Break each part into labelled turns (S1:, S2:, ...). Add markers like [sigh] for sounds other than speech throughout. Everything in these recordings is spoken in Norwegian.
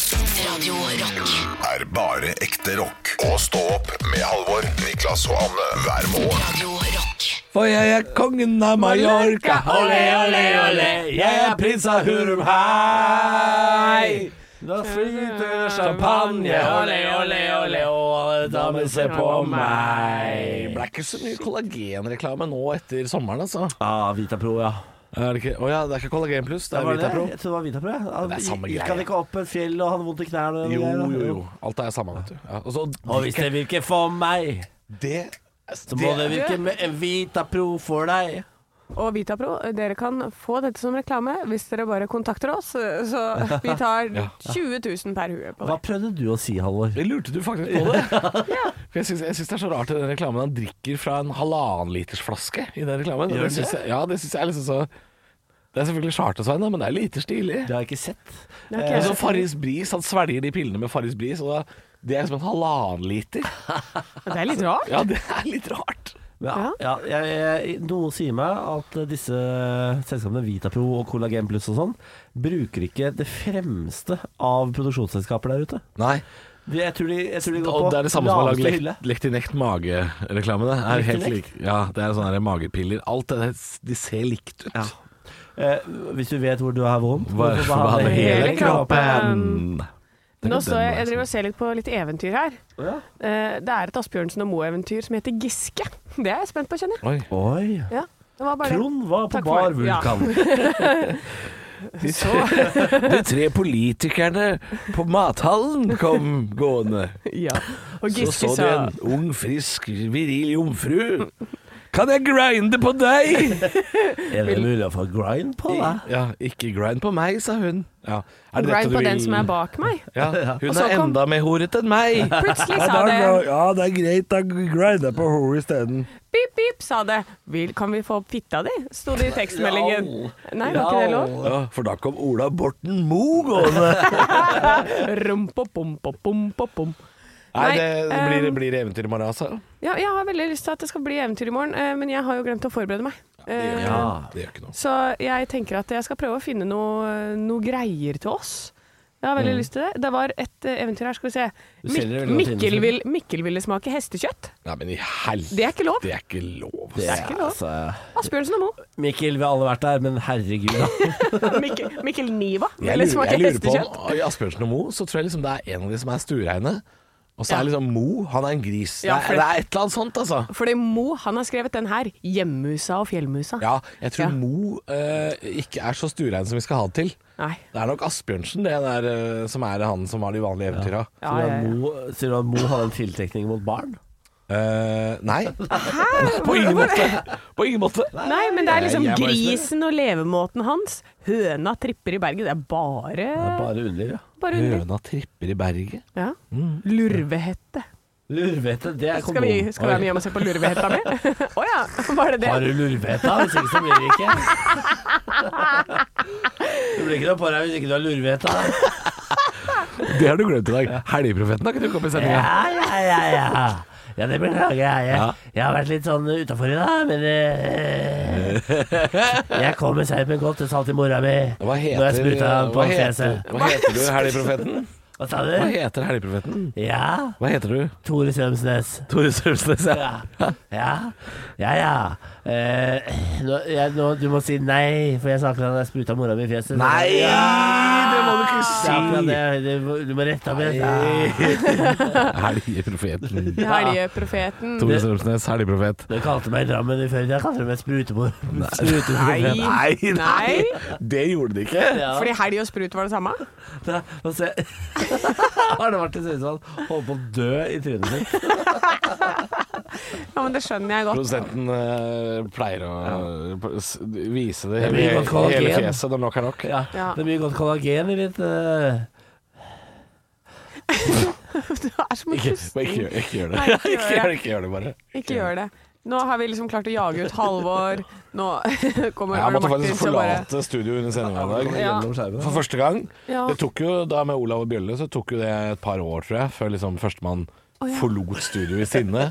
S1: Radio Rock.
S2: er bare ekte rock. Og stå opp med Halvor, Niklas og Anne hver morgen.
S1: Radio Rock.
S3: For jeg er kongen av Mallorca. Ole, ole, ole. Jeg er prins av Hurum, hei. Da
S4: eh.
S3: flyter det champagne, ole, ole, ole, og alle damer ser på meg. Ble ikke så mye kollagenreklame nå etter sommeren, altså.
S4: Ja, Vitapro, ja.
S3: Er det ikke, å ja, det er ikke kollagen pluss, det
S4: Det
S3: er
S4: var det.
S3: Vitapro.
S4: Jeg tror det var Vitapro. Ja. Han
S3: det er samme
S4: gikk
S3: greie.
S4: han ikke opp et fjell og hadde vondt i knærne? og
S3: Jo,
S4: greier, da?
S3: jo, jo. Alt er samme, vet du. Ja, og så
S4: Og hvis det virker for meg,
S3: det
S4: så må det virke med en Vitapro for deg.
S5: Og Vitapro, dere kan få dette som reklame hvis dere bare kontakter oss. Så vi
S3: [laughs]
S5: tar 20 000 per hue på
S4: Hva
S5: det.
S4: prøvde du å si, Halvor?
S3: Det lurte du faktisk på
S4: [laughs]
S3: det. For jeg syns, jeg syns det er så rart i den reklamen han drikker fra en halvannen liters flaske i den reklamen.
S4: Gjør han
S3: Det syns jeg, ja, det syns jeg er liksom så Det er selvfølgelig chartersvein, da, men det er lite stilig.
S4: Det har jeg ikke sett.
S5: Det
S3: Og
S5: er
S3: så
S5: ikke-
S3: Farris Bris, han svelger de pillene med Farris Bris, og da, det er som en halvannen
S4: [laughs]
S3: liter.
S5: Det er litt rart.
S3: Ja, det er litt rart.
S4: Ja, ja, jeg, jeg, noe sier meg at disse selskapene, Vitapro og Kollagen Pluss og sånn, bruker ikke det fremste av produksjonsselskaper der ute.
S3: Nei.
S4: De, jeg tror de, jeg tror de går
S3: Og
S4: på
S3: det er det samme som har
S4: laveste
S3: lagd
S4: hylle.
S3: Lek- Lektinekt mage-rekleme. Det er helt
S4: Lektinekt?
S3: lik. Ja, det er sånne her magepiller. Alt det der, de ser likt ut.
S4: Ja. Eh, hvis du vet hvor du har vondt,
S3: Bare
S4: hvorfor
S3: behandle hele kroppen.
S5: Nå står jeg,
S3: sånn.
S5: jeg driver og ser litt på litt eventyr her.
S4: Ja.
S5: Eh, Det er et Asbjørnsen og Moe-eventyr som heter Giske. Det er jeg spent på, kjenner jeg.
S3: Oi.
S4: Oi.
S5: Ja, det var bare det.
S4: Trond var på
S5: Takk for
S4: bar
S5: meg. Ja.
S4: vulkan.
S3: De tre, [laughs] de tre politikerne på mathallen kom gående.
S5: Ja. Og
S3: Så
S5: Giske
S3: så de
S5: sa
S3: en ung, frisk, viril jomfru. Kan jeg grinde på deg?
S4: Er det mulig å få grind på deg?
S3: Ja, ikke grind på meg, sa hun. Ja. Er det dette
S5: Grind
S3: du
S5: på den
S3: vil-
S5: som er bak meg.
S3: Ja, hun
S5: Og så
S3: er
S5: kom-
S3: enda mer horet enn meg.
S5: [laughs] Plutselig sa det
S3: ja, det er greit, da grinder jeg på henne isteden.
S5: Pip, pip, sa det. Vil, kan vi få opp fitta di? Sto det i tekstmeldingen. Nei, var ikke det lov?
S3: Ja, for da kom Ola Borten Moe
S5: [laughs]
S3: gående.
S5: Rumpopompopompopom.
S3: Nei,
S5: Nei,
S3: det blir,
S5: ehm,
S3: blir eventyr i morgen, altså.
S5: Ja, jeg har veldig lyst til at det skal bli eventyr i morgen, eh, men jeg har jo glemt å forberede meg. Eh,
S3: Det gjør ikke noe.
S5: Så jeg tenker at jeg skal prøve å finne noe, noe greier til oss. Jeg har veldig
S3: Mm.
S5: lyst til det. Det var et eh, eventyr her, skal vi se.
S4: Du selger det
S5: Mik
S4: veldig godt
S5: Mikkel,
S4: innenfor.
S5: vil, Mikkel ville smake hestekjøtt.
S3: Nei, men i helvete.
S5: Det er ikke lov.
S3: Det er ikke lov.
S4: Det altså,
S5: er ikke lov. Asbjørnsen og
S3: [laughs]
S5: Moe.
S4: Mikkel, vi har alle vært der, men herregud, da.
S5: Mikkel, Mikkel Niva
S3: Jeg
S5: ville
S3: lurer,
S5: smake
S3: jeg lurer på
S5: hestekjøtt.
S3: om i Asbjørnsen og Moe, så tror jeg liksom det er en av de som er stuereine. Og så er liksom Moe, han er en gris.
S5: Ja,
S3: det,
S5: for-
S3: er, det er et eller annet sånt, altså.
S5: Fordi Mo han har skrevet den her. 'Hjemmusa og fjellmusa'.
S3: Ja, jeg tror
S5: Ja.
S3: Moe eh, ikke er så stuerein som vi skal ha det til.
S5: Nei.
S3: Det er nok Asbjørnsen det der, eh, som er han som har de vanlige eventyra.
S5: [laughs] Ja,
S4: Sier du
S5: ja,
S4: at
S5: ja.
S4: Mo, sier du at Mo hadde en tiltrekning mot barn?
S3: Eh, nei. [laughs] På ingen måte. På ingen måte.
S5: Nei, men det er liksom
S3: Jeg- jeg bare
S5: grisen og levemåten hans. Høna tripper i berget. Det er bare,
S4: Det er bare underlig, ja.
S5: bare under.
S3: Høna tripper i berget.
S5: Ja.
S3: Mm.
S5: Lurvehette.
S4: Lurvete, det er
S5: Skal vi,
S4: kondom.
S5: skal vi være med hjem og se på lurvehetta
S3: [laughs]
S5: mi? Å ja, var det det?
S4: Har du lurvete, da? Hvis ikke så blir det
S5: [laughs]
S4: ikke. Du blir ikke noe på deg hvis ikke du har lurvete. da.
S3: Det har du glemt i dag. Helgeprofeten har ikke dukket opp i sendinga.
S4: Ja, ja, ja, ja. Ja, det beklager jeg.
S3: Ja.
S4: jeg. Jeg har vært litt sånn utafor i dag, men eh, Jeg kommer seint, men godt. Det salt i mora mi.
S3: Hva
S4: Når jeg
S3: heter,
S4: spruta på
S3: hva heter,
S4: fjeset.
S3: hva heter du, helgeprofeten?
S4: Hva sa
S3: Hva
S4: du?
S3: heter helgeprofeten?
S4: Ja,
S3: Hva heter du?
S4: Tore Sømsnes.
S3: Tore Sørmsnes, ja. [laughs]
S4: Ja, ja, ja. ja. Eh, nå, jeg, nå, du må si nei, for jeg sa akkurat at jeg spruta mora mi i fjeset.
S3: Nei,
S4: Ja,
S3: det må du ikke
S4: det er akkurat
S3: si!
S4: det. Du, må- du må rette opp i dette.
S3: Helgeprofeten.
S5: Helgeprofeten.
S3: Tore Sørmsnes, helgeprofet.
S4: Du kalte meg i Drammen i før i dag, kalte du meg sprutemor. Sprutemor.
S5: Nei. Nei.
S3: Det gjorde det ikke.
S4: [laughs] Ja.
S5: Fordi helg og sprut var det samme?
S4: Da- eh, Nå ser jeg [laughs] Arne Martin ser ut som han holder på å dø i trynet sitt.
S5: Ja, men det skjønner jeg godt.
S3: Produsenten eh, pleier å eh, s- vise det
S4: Det
S3: hele,
S4: blir godt kollagen.
S3: hele fjeset når nok er nok.
S4: Ja.
S5: Ja.
S4: Det er mye godt kollagen i ditt eh,
S5: [laughs] Det er som å
S3: Ikke,
S5: puste.
S3: ikke, gjør- ikke gjør det.
S5: Nei, ikke
S3: [laughs] ikke, gjør
S5: gjør det.
S3: det, ikke gjør det bare.
S5: Ikke gjør det. Nå har vi liksom klart å jage ut Halvor. Nå [laughs] kommer
S3: Jeg
S5: Arne
S3: måtte
S5: Martin
S3: faktisk
S5: så bare
S3: forlate studio under sendinga i dag.
S5: Ja.
S4: gjennom skjermen.
S3: For første gang.
S5: Ja.
S3: Det tok jo da med Olav og Bjølle så tok jo det et par år, tror jeg, før liksom førstemann forlot studio i
S5: [laughs]
S3: sinne.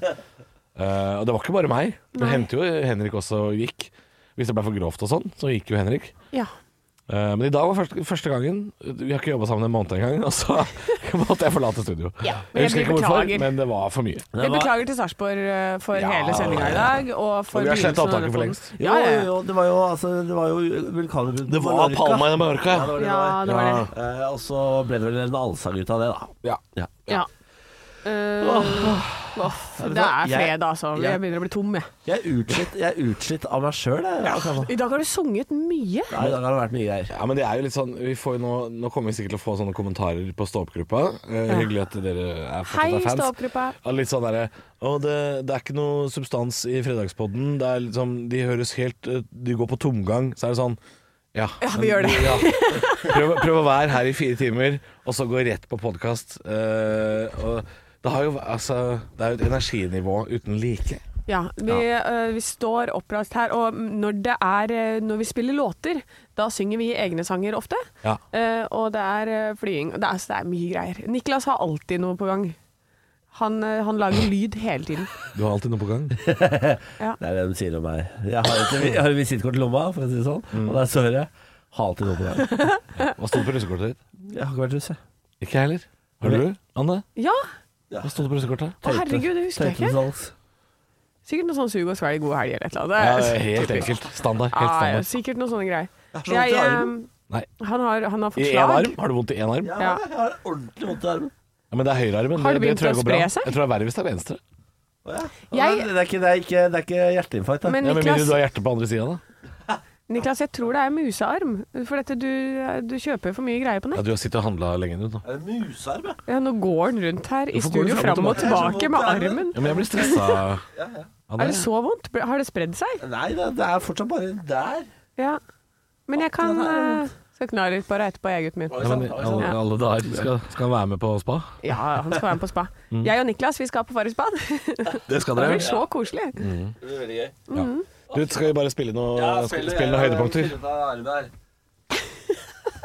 S3: Eh, og det var ikke bare meg. Det
S5: Nei.
S3: hendte jo Henrik også gikk. Hvis det ble for grovt og sånn, så gikk jo Henrik.
S5: Ja.
S3: Eh, men i dag var første, første gangen Vi har ikke jobba sammen en måned engang, [laughs] og så måtte jeg forlate studio.
S5: Ja, men jeg
S3: jeg husker ikke
S5: blir
S3: hvorfor,
S5: beklager.
S3: men det var for mye.
S5: Vi beklager til Sarpsborg eh, for
S3: Ja,
S5: hele sendinga i dag. Og for
S3: Og vi har slettet
S5: begynnelsen av
S3: opptaket
S5: denne
S3: for
S5: podden.
S3: lengst.
S4: Jo,
S5: Ja, ja.
S4: jo, det var jo, altså, det var jo vulkanutbrudd
S3: Det
S4: på
S3: var
S4: Mallorca.
S3: Palma i Mallorca.
S4: Ja, det var det det
S5: ja,
S4: var.
S5: det var det.
S4: Eh, og så ble det vel en allsang ut av det, da.
S3: Ja.
S4: Ja.
S5: Ja. Eh, uff, det er
S4: Jeg-
S5: fredag, altså.
S4: jeg-
S5: Jeg begynner å bli tom, jeg.
S4: Jeg er utslitt, jeg er utslitt av meg sjøl, jeg. Akkurat.
S5: I dag har du sunget mye.
S4: Nei, i dag har det vært mye greier.
S3: Ja, men det er jo litt sånn vi får jo nå, nå kommer vi sikkert til å få sånne kommentarer på stå-opp-gruppa. Eh, Hyggelig at dere er
S5: Hei,
S3: fortsatt er fans.
S5: stå-opp-gruppa.
S3: Ja, Litt sånn derre Å, det, det er ikke noe substans i fredagspodden. Det er liksom De høres helt eh, De går på tomgang. Så er det sånn Ja,
S5: Ja, vi gjør det.
S3: Ja. Prøv, prøv å være her i fire timer, og så gå rett på podkast. og det har jo altså Det er jo et energinivå uten like.
S5: Ja, vi, eh, vi står oppreist her, og når, det er, eh, når vi spiller låter, da synger vi egne sanger ofte.
S3: Ja.
S5: Eh, og det er eh, flying. og Det er, så det er mye greier. Niklas har alltid noe på gang. Han, eh, han lager lyd hele tiden.
S3: Du har alltid noe på gang.
S4: Det er det de sier om meg. Jeg har, ikke, jeg har visittkort i lomma, for å si det sånn. Og der står jeg. Har alltid noe på gang.
S3: Hva sto det på russekortet ditt?
S4: Jeg har ikke vært russ, jeg.
S3: Ikke jeg heller. Har du, Anne?
S5: Ja!
S3: Hva sto det på russekortet?
S5: Å, herregud, det husker jeg ikke.
S4: Tøytesalgs.
S5: Sikkert noe sånn sug og svelg god helg eller et eller
S3: Ja,
S5: [laughs] annet.
S3: det er helt enkelt. Standard. Helt
S5: Ah, ja,
S3: standard.
S5: sikkert noe sånne greier.
S4: så vondt i
S5: Jeg, eh,
S4: armen.
S3: Nei.
S5: han, har, han har
S3: I
S5: fått
S3: én
S5: slag.
S3: arm? Har du vondt i én arm?
S4: Jeg
S3: Ja.
S4: har, jeg har ordentlig vondt i armen.
S3: men det er høyrearmen.
S5: Har
S3: det, det
S5: det begynt
S3: tror jeg
S5: å
S3: går bra.
S5: spre seg?
S3: Jeg tror det er verre hvis det er venstre.
S4: Å, ja.
S5: Jeg-
S4: det, er ikke, det, er ikke, det er ikke hjerteinfarkt. da.
S5: Men
S3: Ja, Med mindre
S5: Niklas,
S3: du har hjertet på andre sida, da.
S5: Niklas, jeg tror det er musearm. For dette, du, eh, du kjøper for mye greier på nett.
S3: Ja, du har sittet og handla lenge nå.
S4: er det musearm, ja?
S5: Ja, nå går han rundt her i
S3: Hvorfor går
S5: studio
S3: du
S5: fram
S3: fram
S5: og
S3: og
S5: tilbake med armen.
S3: [laughs] Ja, men jeg blir stressa.
S5: Er det så vondt? Ble- Har det spredd seg?
S4: Nei, det, det er fortsatt bare der.
S5: Ja. Men jeg kan
S4: den er
S5: eh, Skal kna litt på deg etterpå, jeg, gutten min.
S4: Oi, sant, oi, sant.
S3: alle, alle dager. Skal, skal han være med på spa?
S5: Ja, han skal være med på spa.
S3: Mm.
S5: Jeg og Niklas, vi skal på Farrisbad. [laughs]
S3: Det skal
S5: Det blir så koselig.
S3: Mm.
S4: Det blir veldig gøy.
S3: Ja. Du, skal vi bare spille noe, spille, noen høydepunkter?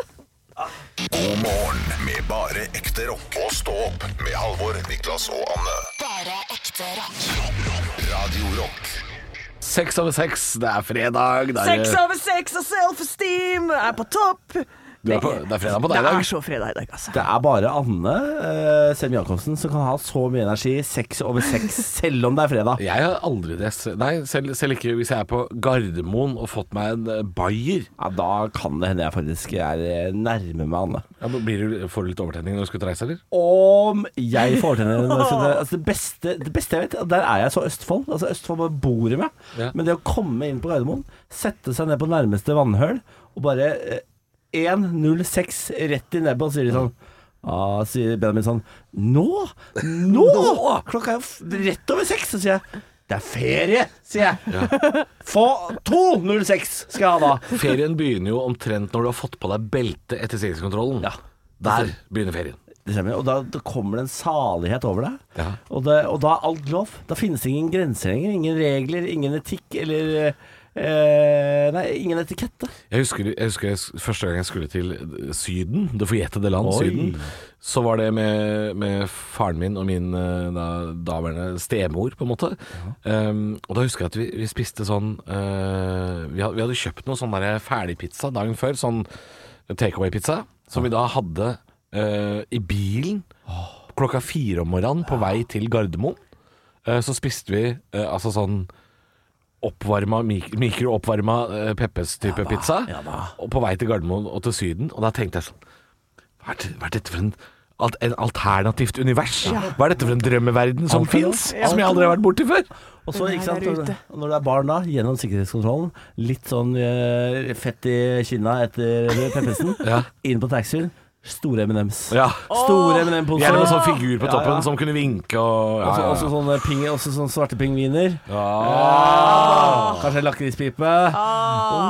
S2: God morgen med bare ekte rock. Og stå opp med Halvor, Niklas og Anne.
S1: Bare ekte rock.
S2: Radio Rock
S3: Seks over seks, det er fredag. Det
S5: Seks
S3: er,
S5: over seks og self-esteem er på topp.
S3: du er på, det er fredag på
S5: Det
S3: deg i
S5: er
S3: dag.
S5: så fredag i dag, altså.
S4: Det er bare Anne eh, Sem Jacobsen som kan ha så mye energi seks over
S5: [laughs]
S4: seks, selv om det er fredag.
S3: Jeg har aldri det. Nei, selv, selv ikke hvis jeg er på Gardermoen og fått meg en eh, bayer.
S4: Ja, da kan det hende jeg faktisk er eh, nærme med Anne.
S3: Ja, men blir du, får du litt overtenning når du skal til å reise, eller?
S4: Om jeg får til det når jeg skal- altså det, beste, det beste jeg vet, og der er jeg så Østfold. Altså Østfold bare bor i meg.
S3: Ja.
S4: Men det å komme inn på Gardermoen, sette seg ned på nærmeste vannhøl og bare eh, 1.06 rett i nebbet, og sier de sånn Ja, sier Benjamin sånn Nå! Nå! Klokka er jo f- rett over seks! Så sier jeg det er ferie, sier jeg. Få 2.06 skal jeg ha da.
S3: Ferien begynner jo omtrent når du har fått på deg belte etter sikkerhetskontrollen.
S4: Ja.
S3: Der begynner ferien.
S4: Det stemmer. Og da, da kommer det en salighet over deg.
S3: Ja.
S4: Og, det, og da er alt lov. Da finnes det ingen grenser lenger. Ingen regler, ingen etikk eller eh, Nei, ingen etikette.
S3: Jeg husker, jeg husker jeg s- første gang jeg skulle til eh, Syden, det forjettede land
S4: Oi.
S3: Syden, så var det med, med faren min og min eh, da, daværende stemor, på en måte. Um, og da husker jeg at vi, vi spiste sånn eh, vi, hadde, vi hadde kjøpt noe sånn der ferdigpizza dagen før, sånn takeaway-pizza, som vi da hadde eh, i bilen klokka fire om morgenen på vei til Gardermoen. Eh, så spiste vi eh, altså sånn oppvarma, mik mikrooppvarma eh, Peppes-type pizza.
S4: ja da.
S3: og på vei til Gardermoen og til Syden. Og da tenkte jeg sånn Hva er det- hva er dette for en alt, en alternativt univers? Hva er dette for en drømmeverden som
S4: Alt er lov.
S3: fins, som jeg aldri har vært borti før?
S4: Og så,
S5: Nei,
S4: ikke sant,
S5: der ute.
S4: og når det er barn da, gjennom sikkerhetskontrollen, litt sånn eh, fett i kinna etter Peppersen,
S3: [laughs] Ja.
S4: inn på taxien, store M&M's.
S3: Ja.
S4: Store
S3: Gjerne
S4: M&M-poser.
S3: med sånn figur på
S4: Ja,
S3: toppen
S4: ja.
S3: som kunne vinke og ja,
S4: Også,
S3: ja,
S4: også,
S3: ja.
S4: sånne, ping, også sånne svarte pingviner. Kanskje en lakrispipe.
S5: Ah.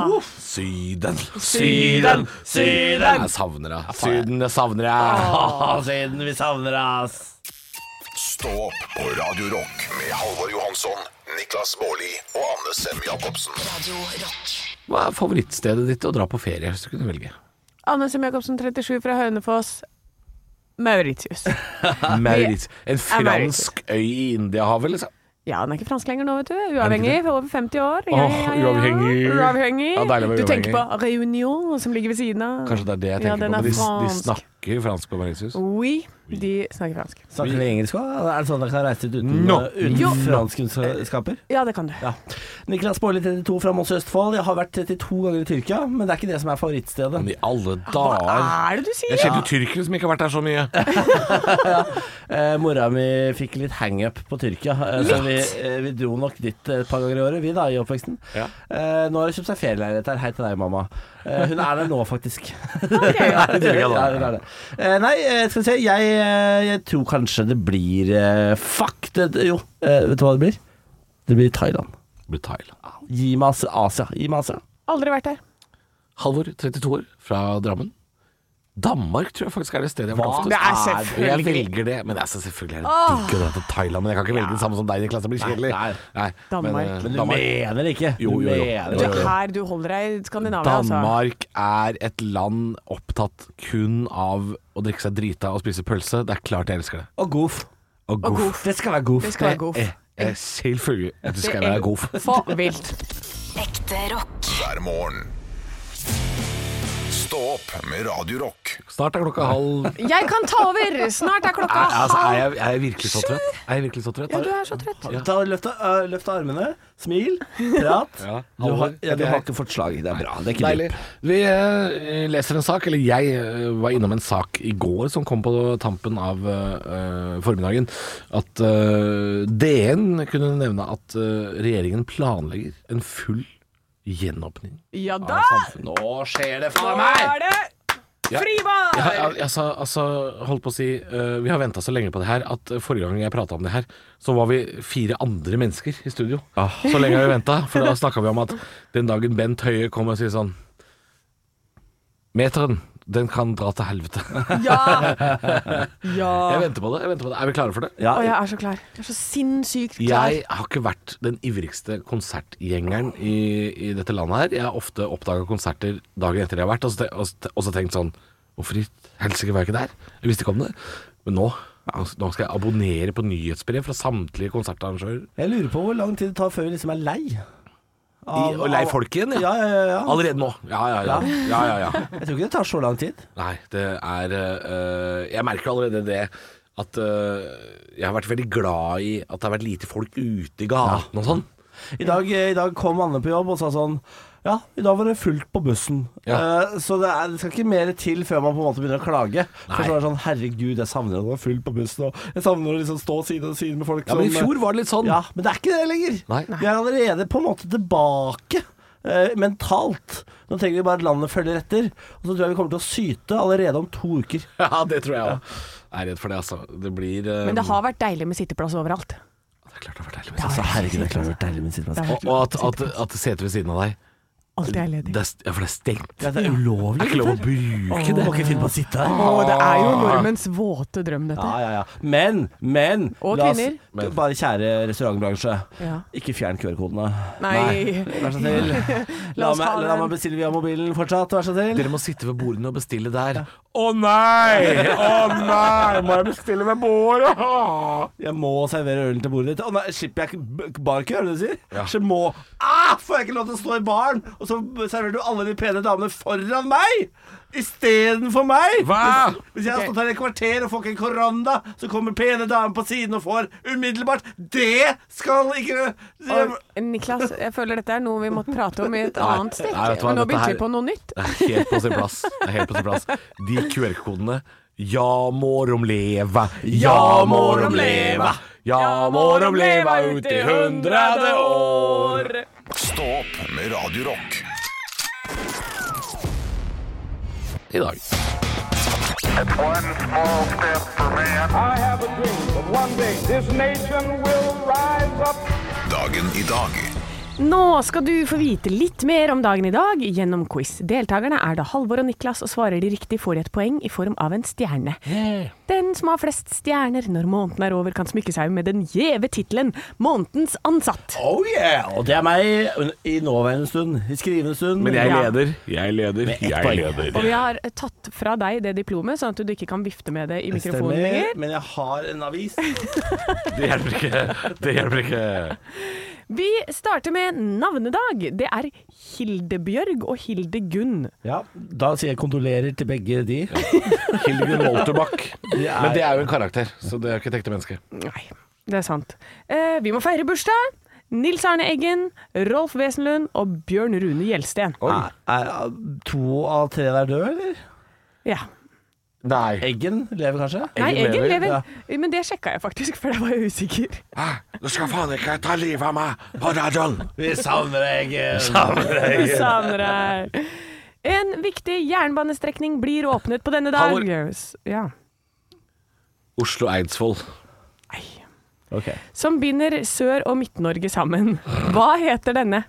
S4: [laughs]
S3: Syden,
S4: Syden, Syden.
S3: Jeg savner deg. Syden, jeg savner deg.
S4: Siden vi savner deg, ass.
S2: Stå opp på Radio Rock med Halvor Johansson, Niklas Baarli og Anne Sem Jacobsen.
S1: Radio rock.
S3: Hva er favorittstedet ditt å dra på ferie, hvis du kunne velge?
S5: Anne Sem Jacobsen, 37, fra Hønefoss. Mauritius.
S3: Mauritius. En
S5: Mauritius.
S3: fransk øy i Indiahavet, liksom.
S5: Ja, den er ikke fransk lenger nå, vet du. Uavhengig, over 50 år. Ja,
S3: Åh,
S5: ja, ja, ja.
S3: uavhengig.
S5: uavhengig.
S3: Ja, deilig å være
S5: du tenker på
S3: uavhengig.
S5: Réunion, som ligger ved siden av.
S3: Kanskje det er det jeg
S5: Ja,
S3: tenker
S5: den
S3: på.
S5: er
S3: Men de, de
S5: fransk.
S3: snakker fransk på Mauritius.
S5: Oui, de snakker fransk.
S4: Snakker dere engelsk òg? Er det sånn dere kan reise ut uten,
S3: No.
S4: uten
S5: Jo.
S4: franskkunnskaper?
S5: Ja, det kan du.
S4: Ja. Niklas Baarli, 32, fra Moss i Østfold. Jeg har vært 32 ganger i Tyrkia, men det er ikke det som er favorittstedet.
S3: Men i alle
S5: Hva
S3: dager
S5: er det du sier?
S3: Jeg kjenner jo tyrkere som ikke har vært der så mye.
S4: Eh, mora mi fikk litt hangup på Tyrkia, eh, så vi, eh, vi dro nok dit et par ganger i året, vi da, i oppveksten.
S3: Ja.
S4: Eh, nå har hun kjøpt seg ferieleilighet her. Hei til deg, mamma. Eh, hun er der nå, faktisk. [laughs]
S5: Ok.
S4: Nei,
S3: Tyrkia da.
S4: hun er det. Eh, nei, eh, skal vi se. Jeg, eh, jeg tror kanskje det blir eh, Fuck! Det, jo, eh, vet du hva det blir? Det blir Thailand.
S3: Det blir Thailand.
S4: Gi meg As- Asia. Gi meg Asia.
S5: Aldri vært der.
S3: Halvor, 32 år, fra Drammen. Danmark tror jeg faktisk er det stedet jeg har vært
S4: Hva?
S3: oftest.
S5: Det er
S3: Og jeg
S5: selvfølgelig
S3: velger det, men det er så selvfølgelig er det digg å dra til Thailand. Men jeg kan ikke velge det samme som deg, Niklas. Det blir kjedelig.
S4: Nei,
S5: Danmark.
S3: Men, eh,
S4: Men du
S3: Danmark,
S4: mener ikke?
S3: Jo, jo, jo.
S4: Du mener
S5: Du
S4: ikke.
S5: er her du holder deg i Skandinavia, altså.
S3: Danmark er et land opptatt kun av å drikke seg drita og spise pølse. Det er klart jeg elsker det.
S4: Og goof.
S3: Og
S5: Og
S3: goof.
S5: goof.
S4: Det skal være goof.
S5: Det skal være goof.
S3: Eh, eh, Selvfølgelig at du skal
S5: Det er
S3: være goof.
S5: For vilt.
S1: Ekte rock.
S2: hver morgen. Stå opp med Radio Rock.
S3: Snart er klokka halv er,
S5: Jeg kan ta over! Snart er klokka
S3: altså, er,
S5: halv
S3: jeg, er jeg virkelig så trøtt? Er jeg virkelig så trøtt?
S5: Ja, du er så trøtt.
S3: Ja.
S4: Ta løft av, ø, løft av armene, smil, prat.
S3: Ja,
S4: du, har, ja, du
S3: det er-
S4: har ikke fått slag. Det er bra. Det er ikke
S3: Deilig.
S4: dyp.
S3: Vi eh, leser en sak, eller jeg eh, var innom en sak i går som kom på tampen av eh, formiddagen. At eh, DN kunne nevne at eh, regjeringen planlegger en full gjenåpning
S5: Ja da!
S3: av samfunnet. Nå skjer det
S5: Nå
S3: faen
S5: er det
S3: Ja,
S5: fribar!
S3: al- altså, altså, holdt på å si eh, Vi har venta så lenge på det her at eh, forrige gang jeg prata om det her, så var vi fire andre mennesker i studio. Så lenge har vi venta. For da snakka vi om at den dagen Bent Høie kom og sier sånn Meteren, den kan dra til helvete. [laughs]
S5: Ja! ja.
S3: Jeg venter på det. jeg venter på det Er vi klare for det?
S4: Ja,
S5: Å, jeg er så klar. Jeg er så sinnssykt klar.
S3: Jeg har ikke vært den ivrigste konsertgjengeren i, i dette landet her. Jeg har ofte oppdaga konserter dagen etter de har vært, og så, te- og så te- og så tenkt sånn Hvorfor i helsike var jeg ikke der? Jeg visste ikke om det. Men nå altså, nå skal jeg abonnere på nyhetsbrev fra samtlige konsertarrangører.
S4: Jeg lurer på hvor lang tid det tar før vi liksom er lei.
S3: I, og lei folk igjen,
S4: Ja,
S3: ja.
S4: ja, ja, ja.
S3: Allerede nå. Ja, ja, ja. ja, ja, ja.
S4: Jeg tror ikke det tar så lang tid.
S3: Nei, det er øh, Jeg merker allerede det at øh, jeg har vært veldig glad i at det har vært lite folk ute i gaten og sånn.
S4: I dag, eh, I dag kom Anne på jobb og sa sånn Ja, i dag var det fullt på bussen.
S3: Ja.
S4: Eh, så det, er, det skal ikke mer til før man på en måte begynner å klage. For
S3: Nei.
S4: så er det sånn Herregud, jeg savner at det var fullt på bussen. Og jeg savner å liksom stå side om side med folk
S3: Ja, men i
S4: som, eh,
S3: fjor var det litt sånn.
S4: Ja, men det er ikke det lenger.
S3: Nei.
S4: Vi er allerede på en måte tilbake eh, mentalt. Nå trenger vi bare at landet følger etter. Og så tror jeg vi kommer til å syte allerede om to uker.
S3: [laughs] Ja, det tror jeg òg. Jeg er redd for det, altså. Det blir eh,
S5: Men det har vært deilig med sitteplass overalt.
S3: Det er klart det har vært deilig med
S4: Altså, herregud, det er klart det er deilig med sitt
S3: Og, og at, at, at setet ved siden av deg
S5: Alt er ledig.
S3: det er, st- Ja, for det er stengt. Det
S4: Ja, det er ulovlig.
S3: er ikke lov å bruke det.
S4: Må ikke finne på å sitte her.
S5: Å, det er jo nordmenns våte drøm, dette.
S4: Ja, ja, ja. Men, men
S5: Og
S4: la oss-
S5: kvinner.
S3: Men.
S4: Bare kjære restaurantbransje.
S5: Ja.
S4: Ikke fjern QR-kodene.
S5: [laughs] Nei.
S4: Vær så snill. La
S5: La oss
S4: meg,
S5: ha
S4: la
S5: den.
S4: meg bestille via mobilen fortsatt, vær så snill.
S3: Dere må sitte ved bordene og bestille der. Å nei! Å nei! Må jeg bestille ved bordet? Åh!
S4: Jeg må servere ølen til bordet ditt. Å nei, slipper jeg ikke barkø, er det det du sier? Så må ah, Får jeg ikke lov til å stå i baren, og så serverer du alle de pene damene foran meg? Istedenfor meg?
S3: Hva?
S4: Hvis, hvis jeg har stått her i et kvarter og får ikke en korona, så kommer pene damer på siden og får umiddelbart Det skal ikke
S5: Og, Niklas, jeg føler dette er noe vi måtte prate om i et
S3: Nei.
S5: annet stikk.
S3: Nei, vet du hva,
S5: Men nå
S3: dette
S5: begynte
S3: her-
S5: vi på noe nytt.
S3: Det er helt på sin plass. Det er helt på sin plass. De QR-kodene. Ja, må de leve. Ja, må de leve. Ja, må de leve ut i hundrede år.
S2: Stå opp med Radio Rock.
S3: i dag.
S6: One small step for man.
S7: I have a dream that one day this nation will rise up.
S2: Dagen i dag.
S5: Nå skal du få vite litt mer om dagen i dag gjennom quiz. Deltakerne er da Halvor og Niklas, og svarer de riktig får de et poeng i form av en stjerne. Den som har flest stjerner når måneden er over, kan smykke seg med den gjeve tittelen 'Månedens ansatt'.
S4: Oh yeah! Og det er meg i nåværende stund, i skrivende stund.
S3: Men jeg
S5: Ja.
S3: leder. Jeg leder.
S4: ett
S3: Jeg
S4: poeng.
S5: Og
S3: leder.
S5: vi har eh, tatt fra deg det diplomet, sånn at du ikke kan vifte med det i mikrofonen lenger.
S4: men jeg har en avis.
S3: Det hjelper ikke. Det hjelper ikke.
S5: Vi starter med navnedag. Det er Hildebjørg og Hildegunn.
S4: Ja, Da sier jeg kondolerer til begge de.
S3: Hildegunn Wolterbach.
S4: er-
S3: Men det er jo en karakter, så det er jo ikke et ekte menneske.
S5: Nei, det er sant. Eh, vi må feire bursdag. Nils Arne Eggen, Rolf Wesenlund og Bjørn Rune Gjelsten.
S4: Er, er, to av tre der døde, eller?
S5: Ja.
S3: Nei.
S4: Eggen lever kanskje?
S5: Nei,
S3: Eggen
S5: Eggen
S3: lever,
S5: lever. Men det sjekka jeg faktisk, for da var jeg usikker.
S3: [laughs] Du skal faen ikke ta livet av meg på radioen!
S4: Vi savner Eggen.
S5: Jeg savner deg. En viktig jernbanestrekning blir åpnet på denne dag.
S3: Halvor.
S5: Yes. Ja.
S3: Oslo Eidsvoll.
S5: Nei.
S4: Ok.
S5: Som binder Sør- og Midt-Norge sammen. Hva heter denne?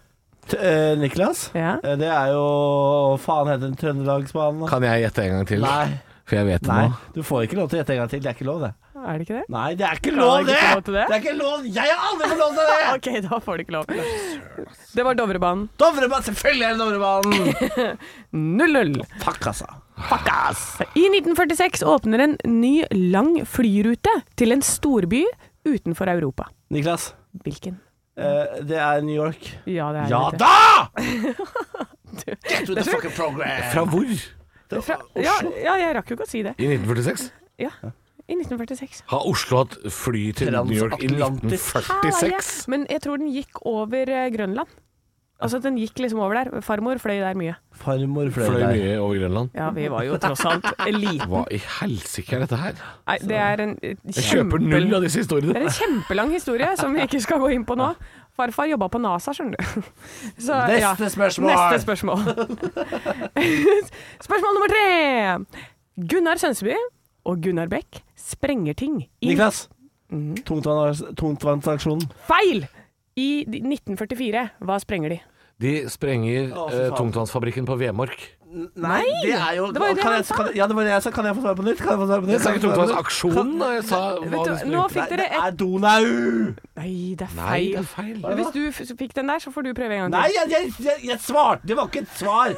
S4: T eh, Niklas,
S5: Ja.
S4: Eh, det er jo Faen heter den Trøndelagsbanen? da?
S3: Kan jeg gjette en gang til?
S4: Nei.
S3: For jeg vet det
S4: Nei,
S3: nå.
S4: du får ikke lov til å gjette en gang til. Det er ikke lov, det.
S5: Er det ikke det?
S4: Nei, det er ikke
S5: lov,
S4: lov,
S5: det!
S4: det!
S5: Det
S4: er ikke lov! Jeg har aldri fått lov til det!
S5: [laughs] OK, da får du ikke lov. Det var Dovrebanen.
S4: Dovrebanen! Selvfølgelig er det Dovrebanen!
S5: 0-0.
S4: Fuck, altså.
S5: I 1946 åpner en ny lang flyrute til en storby utenfor Europa.
S4: Niklas,
S5: Hvilken?
S4: eh, det er New York.
S5: Ja, det er
S4: Ja
S5: det. [laughs]
S4: da! Get to the fucking program!
S3: Fra hvor?
S5: Fra, ja, ja, jeg rakk jo ikke å si det.
S3: I 1946?
S5: Ja, i 1946.
S3: Har Oslo hatt fly til New York i
S4: Transatlantisk.
S5: Halleie.
S3: 1946?
S5: Men jeg tror den gikk over eh, Grønland. Altså at den gikk liksom over der. Farmor fløy der mye.
S4: Farmor fløy
S3: Fløy
S4: der.
S3: mye over Grønland?
S5: Ja, vi var jo tross [laughs] alt eliten.
S3: Hva i helsike er dette her?
S5: Nei, det er en eh,
S3: Jeg kjøper
S5: kjempe-
S3: null av disse
S5: Det er
S3: historiene.
S5: en kjempelang historie som vi ikke skal gå inn på nå. Farfar jobba på NASA, skjønner du. Så,
S4: Neste spørsmål!
S5: Neste spørsmål. spørsmål nummer tre. Gunnar Sønseby og Gunnar Bech sprenger ting i
S4: Niklas,
S5: Mhm.
S4: tungtvanns- tungtvannsaksjonen.
S5: feil! I 1944. Hva sprenger de?
S3: De sprenger
S4: Å, fy
S3: eh,
S4: faen.
S3: tungtvannsfabrikken på Vemork.
S4: Nei, det er jo
S5: det var jo det
S4: kan
S5: han
S4: jeg,
S5: sa.
S4: kan, Ja, det var det jeg sa. Kan jeg få svare på nytt? Kan jeg få svare på nytt?
S3: Jeg sa ikke
S4: Kan jeg få svare på nytt?
S3: tungtvannsaksjonen, da. jeg sa hva
S5: Vet
S3: de
S5: du, nå
S3: sprengte.
S4: Nei,
S5: fikk dere
S4: det
S5: et
S4: er Donau!
S5: Nei, det er
S3: Nei, det
S5: feil.
S3: er feil.
S5: Hvis du f- fikk den der, så får du prøve en
S4: Nei,
S5: gang til.
S4: jeg, jeg, jeg, jeg svarte Det var ikke et svar.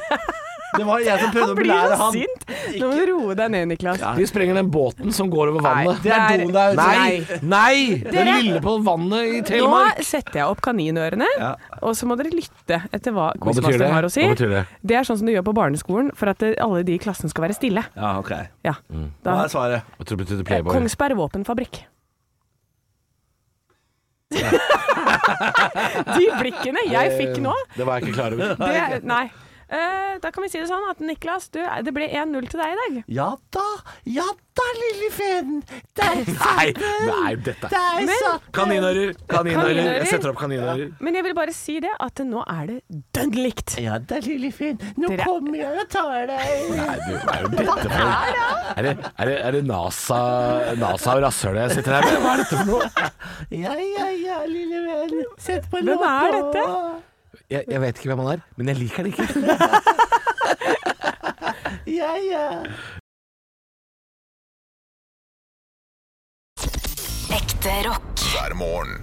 S4: Det var jeg som prøvde å
S5: Han blir
S4: belære
S5: så
S4: han.
S5: sint! Nå må du roe deg ned, Niklas.
S3: De sprenger den båten som går over vannet.
S4: Det er
S5: Det er-
S4: Donau.
S3: Nei! Nei! Den
S5: Dere-
S3: lille på vannet i
S5: Nå
S3: Telemark.
S5: setter jeg opp kaninørene, og så må dere lytte etter hva
S3: betyr det?
S5: quizmasteren har å si.
S3: Hva betyr det?
S5: Det er sånn som du gjør på barneskolen for at eh, alle de i klassen skal være stille.
S4: Ja, ok.
S5: Ja.
S4: Hva
S5: Da,
S4: er svaret?
S3: Jeg tror Mm. det betydde Playboy.
S5: Kongsberg våpenfabrikk.
S3: [laughs]
S5: de blikkene jeg fikk nå,
S3: Eh, Det var jeg ikke klar over.
S5: det Nei. Eh, da kan vi si det sånn at Niklas, du, det ble 1-0 til deg i dag.
S4: Ja da, ja da, lille feen. Der
S3: Nei, nei, dette er
S4: Der
S5: Men-
S4: satt
S3: Kaninører! Kaninører!
S5: [laughs] Kaninører.
S3: Jeg setter opp kaninører.
S5: Men jeg vil bare si det at nå er det dønn likt.
S4: Ja da, lille feen. Nå
S5: Dere-
S4: kommer jeg og tar deg.
S3: Nei, du, hva er jo dette for noe? Er det, er det, er det NASA, NASA og rasshølet jeg sitter her med? Hva er dette for noe?
S4: [laughs] Ja, ja, ja, lille venn. Sett på
S5: Hvem er
S3: Jeg, jeg vet ikke hvem han er, men jeg liker det ikke.
S4: Ja, ja.
S1: Ekte rock.
S2: hver morgen.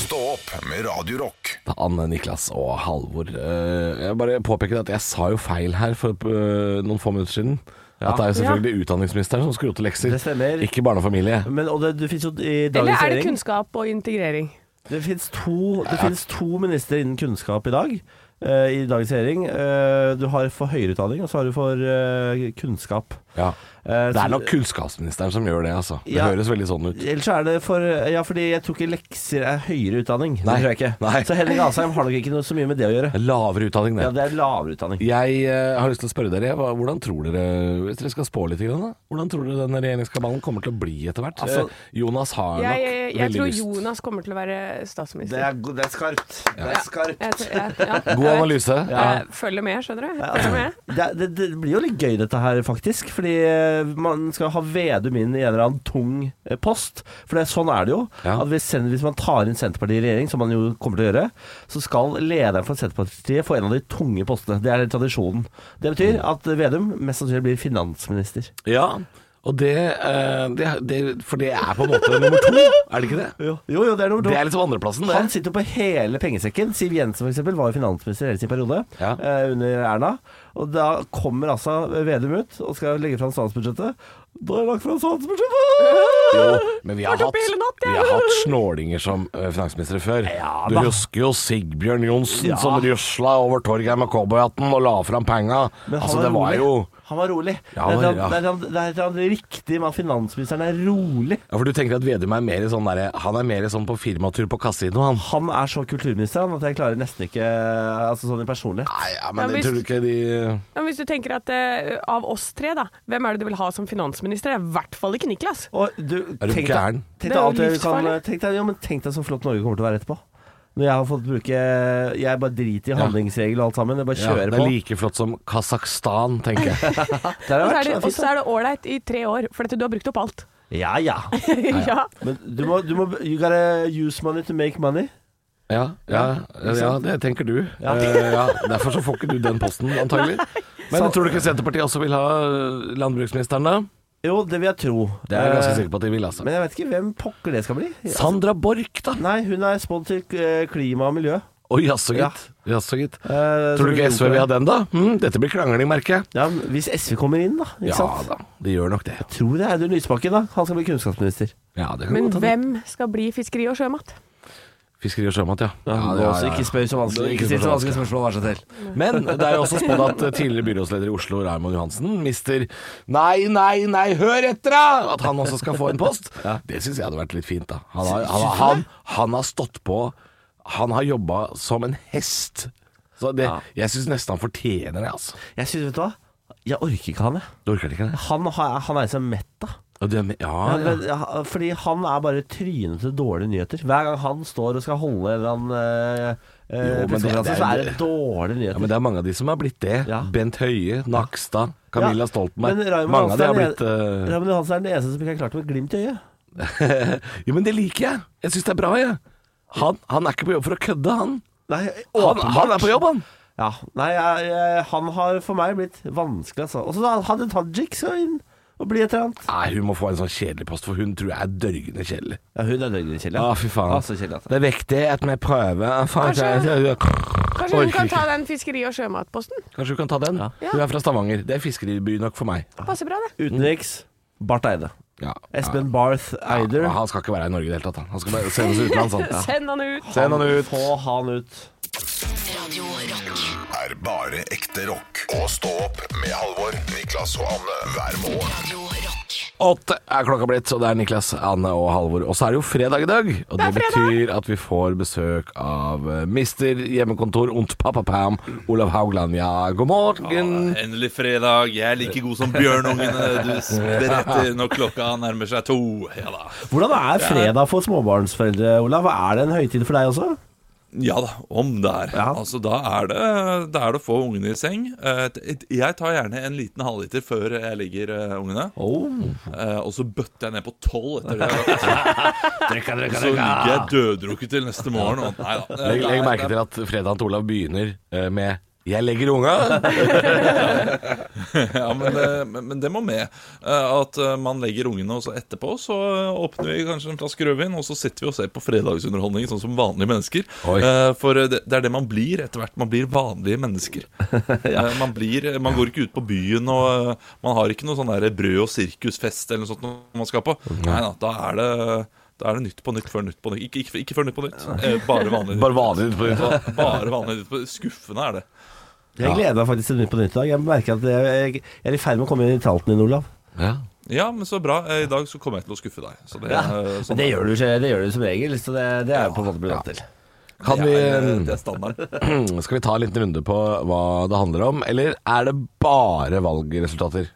S2: Stå opp med Radio Rock.
S3: Anne, Niklas og Halvor. eh, Jeg bare påpeker at jeg sa jo feil her for eh, noen få minutter siden. At det er jo selvfølgelig utdanningsministeren som skroter lekser,
S4: Det stemmer.
S3: ikke barne og familie.
S4: Men og det, du finnes jo i
S5: Eller
S4: dagens
S5: er det
S4: regjering
S5: kunnskap og integrering?
S4: Det finnes to, det finnes to ministre innen kunnskap i dag. eh, I dagens regjering. Eh, du har for høyere utdanning, og så har du for eh, kunnskap.
S3: Ja.
S4: Eh,
S3: Det
S4: så-
S3: er nok kunnskapsministeren som gjør det, altså. Det
S4: Ja.
S3: høres veldig sånn ut.
S4: Ellers er det for Ja, fordi jeg tror ikke lekser er høyere utdanning.
S3: Nei.
S4: Det tror jeg ikke.
S3: Nei.
S4: Så Henrik Asheim har nok ikke noe så mye med det å gjøre.
S3: Lavere utdanning, det.
S4: Ja, det er lavere utdanning.
S3: Jeg eh, har lyst til å spørre dere, hva, hvordan tror dere, hvis dere skal spå litt, grann, da, hvordan tror dere denne regjeringskabalen kommer til å bli etter hvert?
S4: Altså,
S3: Eh, Jonas har nok
S5: Jeg, jeg, jeg
S3: veldig
S5: tror
S3: lyst.
S5: Jonas kommer til å være
S4: Det
S5: statsminister.
S4: er, go- det er skarpt. Det er skarpt.
S5: Jeg, tror- jeg, ja,
S3: [laughs]
S5: jeg
S3: God
S5: vet.
S3: analyse.
S5: Jeg følger med, skjønner du. Jeg følger med.
S4: Det, er- det, det blir jo litt gøy dette her, faktisk. fordi eh, man skal ha Vedum inn i en eller annen tung eh, post. For det, sånn er det jo.
S3: Ja.
S4: At hvis, sen- hvis man tar inn Senterpartiet i regjering, som man jo kommer til å gjøre, så skal lederen for Senterpartiet få en av de tunge postene. Det er tradisjonen. Det betyr
S3: Mm.
S4: at Vedum mest sannsynlig blir finansminister.
S3: Ja, og det, eh, det, det For det er på en måte nummer to, er det ikke det?
S4: Jo, jo, det er nummer to.
S3: Det er liksom andreplassen, det.
S4: Han sitter jo på hele pengesekken. Siv Jensen for eksempel, var jo finansminister hele sin periode
S3: Ja.
S4: eh, under Erna. Og da kommer altså Vedum ut og skal legge fram statsbudsjettet. Da har jeg lagt fram statsbudsjettet!
S3: Jo, [laughs] men vi har,
S5: Vært oppe
S3: hatt,
S5: hele natt,
S3: vi
S5: jeg.
S3: har hatt snålinger som eh, finansministre før.
S4: Ja,
S3: du
S4: da.
S3: husker jo Sigbjørn Johnsen
S4: Ja.
S3: som rusla over torget med cowboyhatten og la fram penga.
S4: Men han
S3: Altså, det var
S4: rolig.
S3: jo
S4: Han var rolig.
S3: Ja,
S4: det er
S3: han-
S4: et
S3: ja.
S4: eller annet- det er et eller annet riktig med at finansministeren er rolig.
S3: ja, For du tenker at Vedum er mer sånn derre Han er mer sånn på firmatur på kasino, han.
S4: Han er så kulturminister han, at jeg klarer nesten ikke Altså sånn i personlighet.
S3: Nei, ja,
S5: Ja,
S3: men jeg
S5: hvis-
S3: tror du ikke de
S5: Men hvis du tenker at eh, av oss tre, da, hvem er det du vil ha som finansminister? Det er i hvert fall ikke Niklas.
S4: Og du,
S3: Er du
S4: tenk deg-
S3: gæren?
S4: Tenk
S5: Det
S4: deg,
S5: er jo
S4: alt jeg kan,
S5: livsfarlig.
S4: tenk, deg, ja, men tenk deg så flott Norge kommer til å være etterpå. Når jeg har fått bruke Jeg bare driter i handlingsregel og alt sammen. Jeg bare
S3: ja, Det
S4: kjører
S3: er
S4: på.
S3: like flott som Kasakhstan, tenker [laughs] jeg.
S4: Der har
S5: Og
S4: jeg vært, sånn.
S5: så er det-
S4: det er
S5: og
S4: fint,
S5: så er det ålreit i tre år, for dette, du har brukt opp alt. [laughs]
S4: da. Ja ja.
S5: ja.
S4: Men du må, du må You gotta use money to make money.
S3: Ja, ja, ja det tenker du.
S4: Ja.
S3: Eh, ja. Derfor så får ikke du den posten, antagelig. Men
S4: Så-
S3: tror du ikke Senterpartiet også vil ha eh, landbruksministeren, da?
S4: Jo, det vil jeg tro.
S3: Det er jeg ganske
S4: Eh,
S3: sikker på at de vil, altså.
S4: Men jeg vet ikke hvem pokker det skal bli. Altså,
S3: Sandra Borch, da.
S4: Nei, hun er spådd til eh, klima og miljø.
S3: Å, jaså
S4: Ja.
S3: gitt. Jaså gitt.
S4: Eh,
S3: Tror du
S4: så
S3: ikke
S4: vi
S3: SV vil ha den, da? Hm, dette blir krangling, merker jeg.
S4: Ja, men hvis SV kommer inn, da. Ikke
S3: Ja
S4: sant?
S3: da, de gjør nok det.
S4: Tror det er Audun Lysbakken, da. Han skal bli kunnskapsminister.
S3: Ja, det kan
S5: Men
S3: godt hende.
S5: hvem skal bli fiskeri og sjømat?
S3: Fiskeri og sjømat, ja.
S4: Ja,
S3: Ja,
S4: må
S3: ja,
S4: også
S3: ja, ja.
S4: Ikke spør så vanskelig
S3: Ikke
S4: Ikke
S3: spør
S4: still så
S3: så
S4: vanskelige spørsmål, vær så snill.
S3: Men det er jo også spådd at eh, tidligere byrådsleder i Oslo, Raymond Johansen, mister Nei, nei, nei, hør etter, da! At han også skal få en post.
S4: [laughs]
S3: Det syns jeg hadde vært litt fint, da. Han har, han,
S4: Syns du
S3: han,
S4: det?
S3: han har stått på Han har jobba som en hest. Så det,
S4: Ja.
S3: jeg syns nesten han fortjener det, altså.
S4: Jeg synes, vet du hva? Jeg orker ikke han, jeg.
S3: Du orker ikke det?
S4: Han, har- han er liksom mett, da.
S3: Og det- Ah, Ja,
S4: Han-
S3: ja.
S4: ja, Fordi han er bare trynet til dårlige nyheter. Hver gang han står og skal holde en eller annen eh, eh,
S3: Jo, men det-
S4: pressekonferanse,
S3: det er-
S4: så er det dårlige nyheter.
S3: Ja, men det er mange av de som har blitt det.
S4: Ja.
S3: Bent Høie, Nakstad, Camilla
S4: Ja,
S3: Stoltenberg.
S4: men Raymond
S3: Mange av de har
S4: Johansen
S3: blitt
S4: er
S3: eh,
S4: Raymond Johansen er den eneste som ikke har klart det med glimt i øyet.
S3: [laughs] Jo, men det liker jeg. Jeg syns det er bra, jeg. Han, han er ikke på jobb for å kødde, han.
S4: Nei,
S3: Han, han er på jobb, han.
S4: Ja, nei, jeg, jeg, han har for meg blitt vanskelig, altså. Og så da hadde Tajik skal inn og bli et eller annet.
S3: Nei, hun må få en sånn kjedelig post, for hun tror jeg er dørgende kjedelig.
S4: Ja, hun er løgner, Kjell.
S3: Ja, Ah, fy faen.
S4: Altså, Kjell, altså.
S3: Det er viktig at vi prøver Ah,
S5: Kanskje- Kanskje hun
S3: Orker ikke.
S5: kan ta den fiskeri- og sjømatposten?
S3: Kanskje du kan ta den? Hun er fra Stavanger. Det er fiskeriby nok for meg.
S5: Passer bra, det.
S4: Utenriks, Barth Eide.
S3: Ja.
S4: Espen Barth Eider.
S3: Ja, han skal ikke være her i Norge i det hele tatt. Han, han skal bare sendes
S5: [laughs]
S3: utenlands, altså. han.
S5: Send han ut!
S3: Send han ut.
S4: Få han ut.
S1: Radio Rock.
S2: er bare ekte rock. Og stå opp med Halvor, Niklas og Anne hver morgen.
S1: Radio Rock.
S3: Åtte er klokka blitt, og det er Niklas, Anne og Halvor. Og så er det jo fredag i dag. Og det, betyr at vi får besøk av eh, mister hjemmekontor ont pappa-pam, Olav Haugland. Ja, god morgen.
S7: Endelig fredag. Jeg er like god som bjørnungene du spretter når klokka nærmer seg to. Ja da.
S4: Hvordan er fredag for småbarnsforeldre, Olav? Er det en høytid for deg også?
S7: Ja da, om der.
S4: Ja.
S7: Altså, da er, det, da er det å få ungene i seng. Eh, et- Jeg tar gjerne en liten halvliter før jeg legger eh, ungene.
S3: Oh.
S7: Eh, Og så bøtter jeg ned på tolv etter det.
S3: [laughs]
S4: Drikka,
S7: Og
S4: drikka,
S7: så ligger jeg døddrukket til neste morgen. Og nei da.
S3: Legg, legg merke til at fredagen til Olav begynner eh, med 'Jeg legger unga'.
S7: Ja, men, eh, men, men det må med. Eh, At eh, man legger ungene, og så etterpå så eh, åpner vi kanskje en flaske rødvin, og så sitter vi og ser på fredagsunderholdning, sånn som vanlige mennesker.
S3: Oi.
S7: Eh, For eh, det det er det man blir etter hvert. Man blir vanlige
S3: [laughs]
S7: mennesker. Eh, Man, blir, man går ikke ut på byen, og eh, man har ikke noe sånn der brød og sirkusfest eller noe sånt når man skal på.
S3: Mm.
S7: Nei da, da er det da er det nytt på nytt før nytt på nytt. Ikke, ikke, ikke før nytt på nytt. Eh, Bare vanlig.
S3: [laughs] Bare vanlig ut på nytt.
S7: Ba- Bare vanlig. Skuffende er det.
S4: Jeg gleder meg faktisk til Nytt på nytt i dag. Jeg merker at jeg, jeg, jeg er i ferd med å komme inn i tralten din, Olav.
S3: Ja.
S7: Ja, men så bra. Eh, I dag så kommer jeg til å skuffe deg. Så det, eh, sånn
S4: Men det
S7: er det.
S4: gjør du, ikke- det gjør du som regel, så det, det er jeg på en måte blitt vant til.
S3: Kan
S7: Det er,
S3: vi,
S7: det er standard. [laughs]
S3: [clears throat] skal vi ta en liten runde på hva det handler om, eller er det bare valgresultater?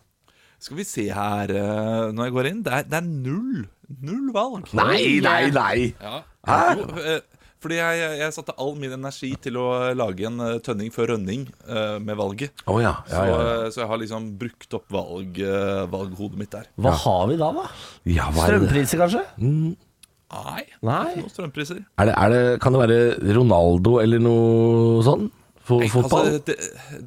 S7: Skal vi se her eh, når jeg går inn. Det er, det er null. Null valg.
S3: Nei, nei, nei!
S7: Ja.
S3: Hæ?
S7: Jo, eh, Fordi jeg, jeg satte all min energi til å lage en eh, tønning før rønning eh, med valget.
S3: Å ja.
S7: Så,
S3: Ja, ja, ja.
S7: eh, så jeg har liksom brukt opp valg, eh, valghodet mitt der.
S4: Hva har vi da, da?
S3: ja hva er, det?
S4: Strømpriser, kanskje?
S7: Nei, det er
S3: Nei.
S7: ikke noen strømpriser.
S3: Er, det, er det Kan det være Ronaldo eller noe sånn? Fo
S7: Nei,
S3: fotball?
S7: Altså, det,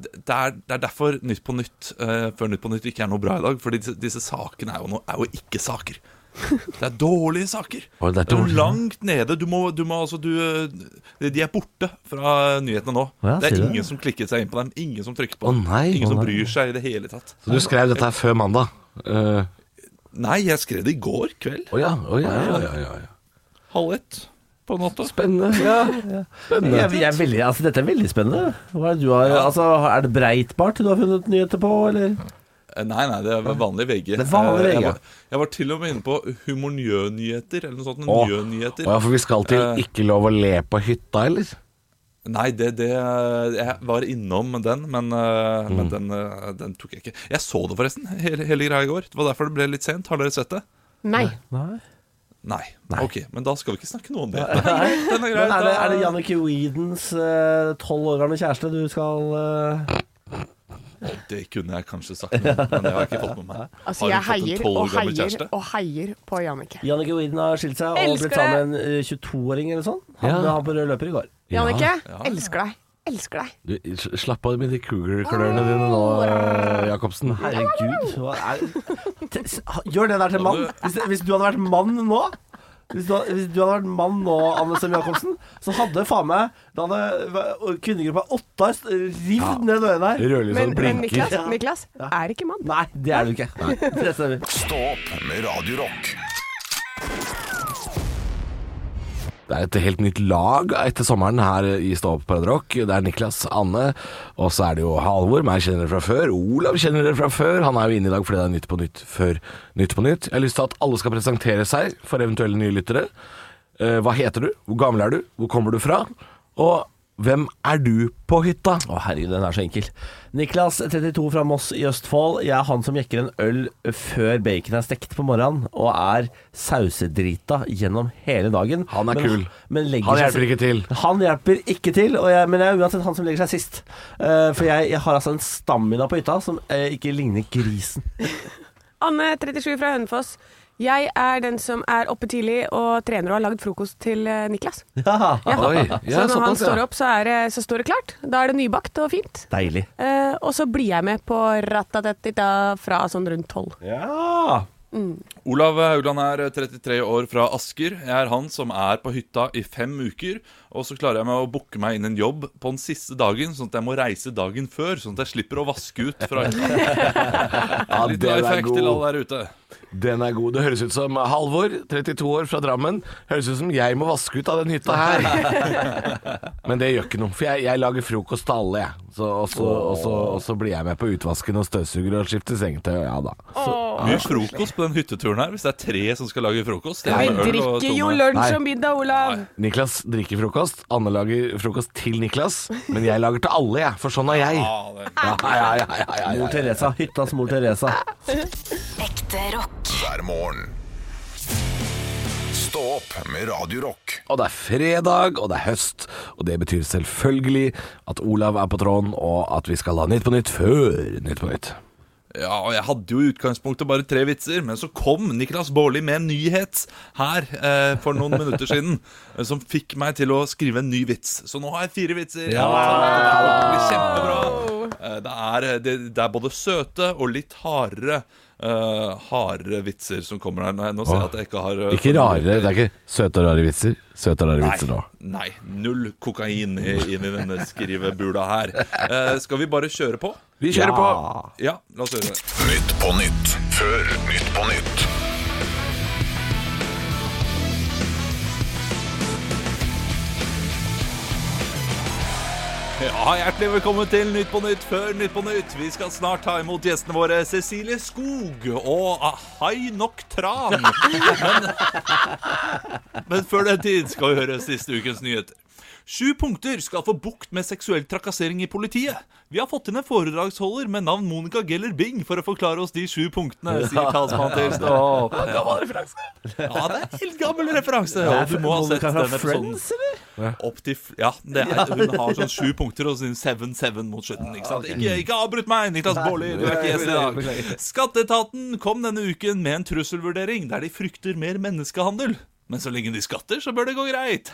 S7: det, det er, det er derfor Nytt på Nytt eh, før Nytt på Nytt ikke er noe bra i dag. Fordi disse, disse sakene er jo, noe, er jo ikke saker. Det er dårlige saker.
S3: [laughs] Å, det er dårlige.
S7: langt nede. Du må, du må altså du, eh, De er borte fra nyhetene nå.
S4: Ja,
S7: det
S4: sier
S7: er
S4: du det?
S7: ingen som klikket seg inn på dem. Ingen som trykket
S3: Å,
S7: på dem.
S3: nei, å,
S7: ingen som
S3: nei.
S7: bryr seg i det hele tatt.
S3: Så du skrev dette her før mandag? Eh,
S7: Nei, jeg skrev det i går kveld.
S3: Å ja, å ja, ja, ja, ja, ja.
S7: Halv ett på natta.
S3: Spennende.
S7: [laughs]
S3: Ja, spennende.
S4: Jeg, jeg er veldig, altså, dette er veldig spennende. Hva er, det du har, altså, er det Breitbart du har funnet nyheter på, eller?
S7: Eh, Nei, nei, det var vanlig VG.
S4: Det er vanlig
S7: Eh,
S4: VG.
S7: Jeg var, jeg var til og med inne på humornjønyheter, eller noe sånt.
S3: Å.
S7: Njønyheter.
S3: Å ja, for vi skal
S7: Eh.
S3: til Ikke lov å le på hytta, eller?
S7: Nei, det, det Jeg var innom den, men,
S4: Mm.
S7: eh, men den, eh, den tok jeg ikke. Jeg så det forresten, hele, hele greia i går. Det var derfor det ble litt sent. Har dere sett det?
S5: Nei.
S7: Nei. Ok, men da skal vi ikke snakke noe om det. [laughs] Den er grei.
S4: Men er det, er det
S7: da-
S4: Jannicke Weedens eh, tolv år gamle kjæreste du skal eh,
S7: Det kunne jeg kanskje sagt noe om, men det har jeg ikke fått med
S4: [laughs]
S7: meg.
S5: Altså,
S7: har
S5: jeg
S7: hun fått
S5: heier
S7: en 12 år
S5: og
S7: gammel
S5: heier
S7: kjæreste?
S5: og heier på Jannicke.
S4: Jannicke Weeden har skilt seg og
S5: Elsker
S4: blitt sammen med en eh, 22-åring eller sånn. Han
S3: Ja.
S4: ble han på rød løper i går.
S5: Jannicke, elsker deg. Elsker deg.
S3: Du, s- slapp av med de cougar-klørne dine nå, eh, Jacobsen.
S4: Herregud. Hva er, T- s- ha- gjør det der til mann. Hvis, det- hvis du hadde vært mann nå hvis du, hadde- hvis du hadde vært mann nå, Anne Sem Jacobsen, så hadde faen meg Da hadde v- kvinnegruppa Åtta st- eh, rivd ned døren her.
S3: Rødlyset
S5: Men, men
S3: blinker.
S5: Niklas, Niklas er ikke mann.
S4: Nei, det er du ikke. Det stemmer.
S2: Stå opp med Radio Rock.
S3: Det er et helt nytt lag etter sommeren her i Stå opp på Radio Rock. Det er Niklas, Anne, og så er det jo Halvor, meg kjenner dere fra før. Olav kjenner dere fra før. Han er jo inne i dag fordi det er Nytt på Nytt før Nytt på Nytt. Jeg har lyst til at alle skal presentere seg for eventuelle nye lyttere. Eh, Hva heter du? Hvor gammel er du? Hvor kommer du fra? Og hvem er du på hytta?
S4: Å herregud, den er så enkel. Niklas, 32 fra Moss i Østfold. Jeg er han som jekker en øl før bacon er stekt på morgenen, og er sausedrita gjennom hele dagen.
S3: Han er kul.
S4: Men legger
S3: Han
S4: seg-
S3: hjelper ikke til.
S4: [laughs] Han hjelper ikke til, og jeg, men jeg er uansett han som legger seg sist. Eh, for jeg, jeg har altså en stamina på hytta som eh, ikke ligner grisen. [laughs]
S5: Anne, 37 fra Hønefoss. Jeg er den som er oppe tidlig og trener og har lagd frokost til eh, Niklas.
S4: Ja.
S5: Ja.
S3: Oi,
S5: så
S3: ja,
S5: når han
S3: såpass, ja.
S5: står opp, så, er det, så står det klart. Da er det nybakt og fint.
S4: Deilig.
S5: Eh, og så blir jeg med på ratatatita fra sånn rundt tolv.
S4: Ja.
S7: Olav Haugland er 33 år fra Asker. Jeg er han som er på hytta i fem uker. Og så klarer jeg meg å booke meg inn en jobb på den siste dagen, sånn at jeg må reise dagen før. Sånn at jeg slipper å vaske ut
S4: [laughs]
S7: fra hytta.
S3: [laughs] Ja,
S7: Litt
S3: den er
S7: life hack til
S3: god.
S7: alle der ute.
S3: Den er god. Det høres ut som Halvor, 32 år fra Drammen. Høres ut som jeg må vaske ut av den hytta her. Men det gjør ikke noe, for jeg, jeg lager frokost til alle, jeg. Så, og, så, og, så, og så blir jeg med på utvasken og støvsuger og skifter sengetøy, og ja da.
S7: Mye frokost på den hytteturen her, hvis det er tre som skal lage frokost. Det er
S5: Vi
S7: med øl og
S5: drikker jo
S7: tomme.
S3: Nei.
S5: lunsj og middag, Olav.
S3: Niklas drikker frokost. Anne lager frokost til Niklas. Men jeg lager til alle, jeg. For sånn er jeg.
S7: Ja, det
S3: Ja, ja, ja, ja, ja,
S4: Mor
S3: ja.
S4: Teresa. Hyttas mor Teresa.
S1: Ekte rock.
S2: hver morgen. Stå opp med Radio Rock.
S3: Og det er fredag, og det er høst. Og det betyr selvfølgelig at Olav er på tråden, og at vi skal ha Nytt på Nytt før Nytt på Nytt.
S7: Ja, og jeg hadde jo i utgangspunktet bare tre vitser, men så kom Niklas Baarli med en nyhet her eh, for
S3: [laughs]
S7: noen minutter siden, eh, som fikk meg til å skrive en ny vits. Så nå har jeg fire vitser. Ja, det blir kjempebra. Eh, Det er, det, det er både søte og litt hardere, eh, hardere vitser som kommer her. Nå- Nå ser jeg at jeg ikke har eh,
S3: Ikke rare, det er ikke søte og rare vitser. Søte og rare vitser nå.
S7: Nei, null kokain i, i denne skrivebula her. Eh, skal vi bare kjøre på?
S3: Vi kjører på!
S7: Ja, la oss gjøre det.
S2: Nytt på nytt før Nytt på nytt.
S7: Ja, Hjertelig velkommen til Nytt på Nytt før Nytt på Nytt. Vi skal snart ta imot gjestene våre Cecilie Skog og ah, Hai Nok Tran. Men, men før den tid skal vi høre siste ukens nyheter. Sju punkter skal få bukt med seksuell trakassering i politiet. Vi har fått inn en foredragsholder med navn Monica Geller Bing for å forklare oss de sju punktene, sier talsmann til Stå. Ja, det er en helt gammel referanse. Og du må ha sett den episoden. Opp til f- Ja, det er, hun har sånn sju punkter og sin 7-7 mot slutten. Ikke sant? Ikke, ikke avbryt meg, Niklas Baarli, du er ikke gjest i dag. Skatteetaten kom denne uken med en trusselvurdering der de frykter mer menneskehandel. Men så lenge de skatter, så bør det gå greit.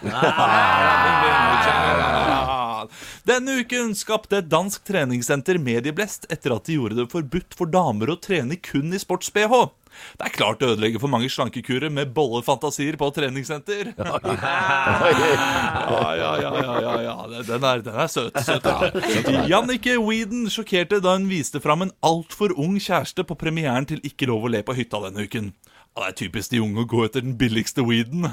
S7: Denne uken skapte et dansk treningssenter medieblest etter at de gjorde det forbudt for damer å trene kun i sports-BH. Det er klart det ødelegger for mange slankekurer med bollefantasier på treningssenter. Ja, ja, ja, ja, ja, ja. Den- Den, er, den er søt. søt ja. Jannicke Weeden sjokkerte da hun viste fram en altfor ung kjæreste på premieren til Ikke lov å le på hytta denne uken. Ja, det er typisk de unge å gå etter den billigste weeden.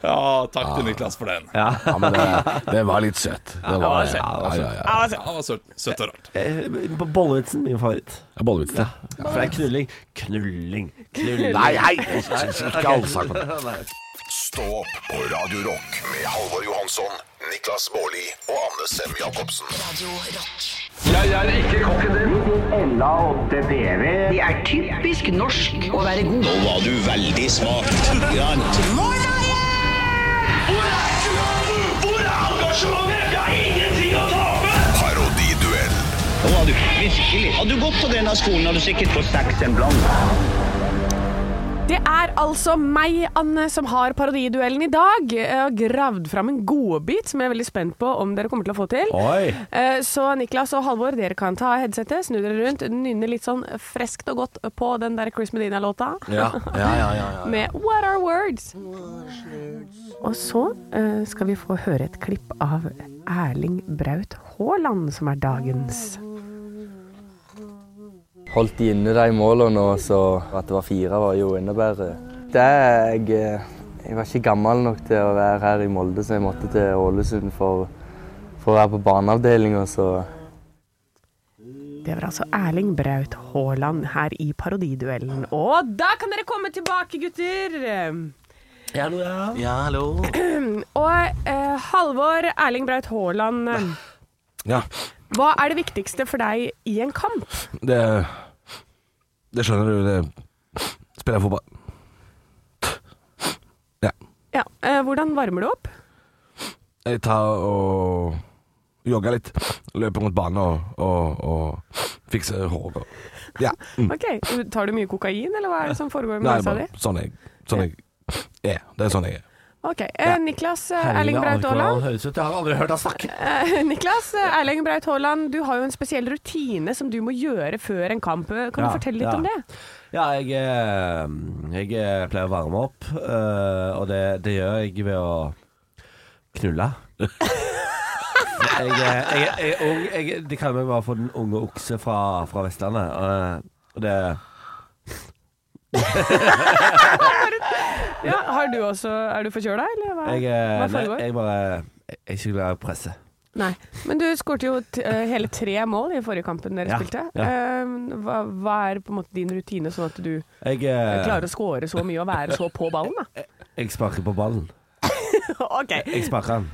S7: Ja, takk til Niklas for den. Ja,
S8: [laughs] Ja, men det, det var litt søtt. Det var, ja, ja, ja, ja.
S7: det var søtt, søtt og rart.
S4: Eh, på Bollevitsen, min favoritt.
S8: Ja, Bollevits, det.
S4: For det er knulling. Knulling. Knulling.
S8: Nei, hei! Ikke allsang på
S4: [laughs]
S8: det.
S2: Stå opp på Radio Rock med Halvor Johansson, Niklas Baarli og Anne Sem Jacobsen.
S1: Radio Rock.
S2: Parodiduell
S5: Det er altså meg, Anne, som har parodiduellen i dag. Jeg har gravd fram en godbit som jeg er veldig spent på om dere kommer til å få til.
S4: Oi.
S5: Eh, Så Niklas og Halvor, dere kan ta av headsetet, snu dere rundt, nynne litt sånn freskt og godt på den der Chris Medina-låta
S8: Ja, ja, ja, ja, ja.
S5: med What Are Words. Og så eh, skal vi få høre et klipp av Erling Braut Haaland, som er dagens.
S9: holdt de inne de målene, og så at det var fire var jo enda bedre. Det er jeg eh, Jeg var ikke gammel nok til å være her i Molde, så jeg måtte til Ålesund for, for å være på barneavdelinga, så
S5: Det var altså Erling Braut Haaland her i parodiduellen. Og da kan dere komme tilbake, gutter!
S8: Ja, hallo.
S5: [clears throat] Og eh, Halvor Erling Braut Haaland, eh,
S8: Ja,
S5: hva er det viktigste for deg i en kamp?
S8: det Det skjønner du, det Spiller jeg fotball. Ja.
S5: Ja, eh, hvordan varmer du opp?
S8: Jeg tar og jogger litt. Løper mot banen og, og, og fikser håret. Ja. Mm.
S5: Ok, Tar du mye kokain, eller hva er det som foregår med
S8: Nei,
S5: nesa
S8: bare
S5: di?
S8: sånn jeg, sånn jeg er. Det er sånn jeg er.
S5: Ok, eh, Niklas eh, Erling Braut
S4: Hvordan
S5: Haaland. [laughs]
S4: høres ut? Jeg har aldri hørt han snakke.
S5: Eh, Niklas eh, Erling Braut Haaland, du har jo en spesiell rutine som du må gjøre før en kamp. Eh, Kan
S4: Ja,
S5: du fortelle litt
S4: ja.
S5: om det?
S4: Ja, jeg, eh, jeg eh, pleier å varme opp, eh, og det, det gjør jeg ved å knulle. jeg, eh, jeg, jeg er ung. Jeg, de kaller meg bare for den unge okse fra, fra Vestlandet. eh, Og det
S5: Ja, har du også, Er du forkjøla, eller hva,
S4: jeg, eh,
S5: hva
S4: nei,
S5: foregår?
S4: jeg bare Jeg er ikke glad i presse.
S5: Nei, men du skårte jo t eh, hele tre mål i forrige kampen dere
S4: Ja,
S5: spilte.
S4: ja.
S5: Eh, hva, hva er på en måte din rutine, sånn at du eh,
S4: Jeg, eh,
S5: klarer å skåre så mye og være så på ballen?
S4: [laughs]
S5: da?
S4: jeg sparker på ballen.
S5: Ok,
S4: Jeg sparker den.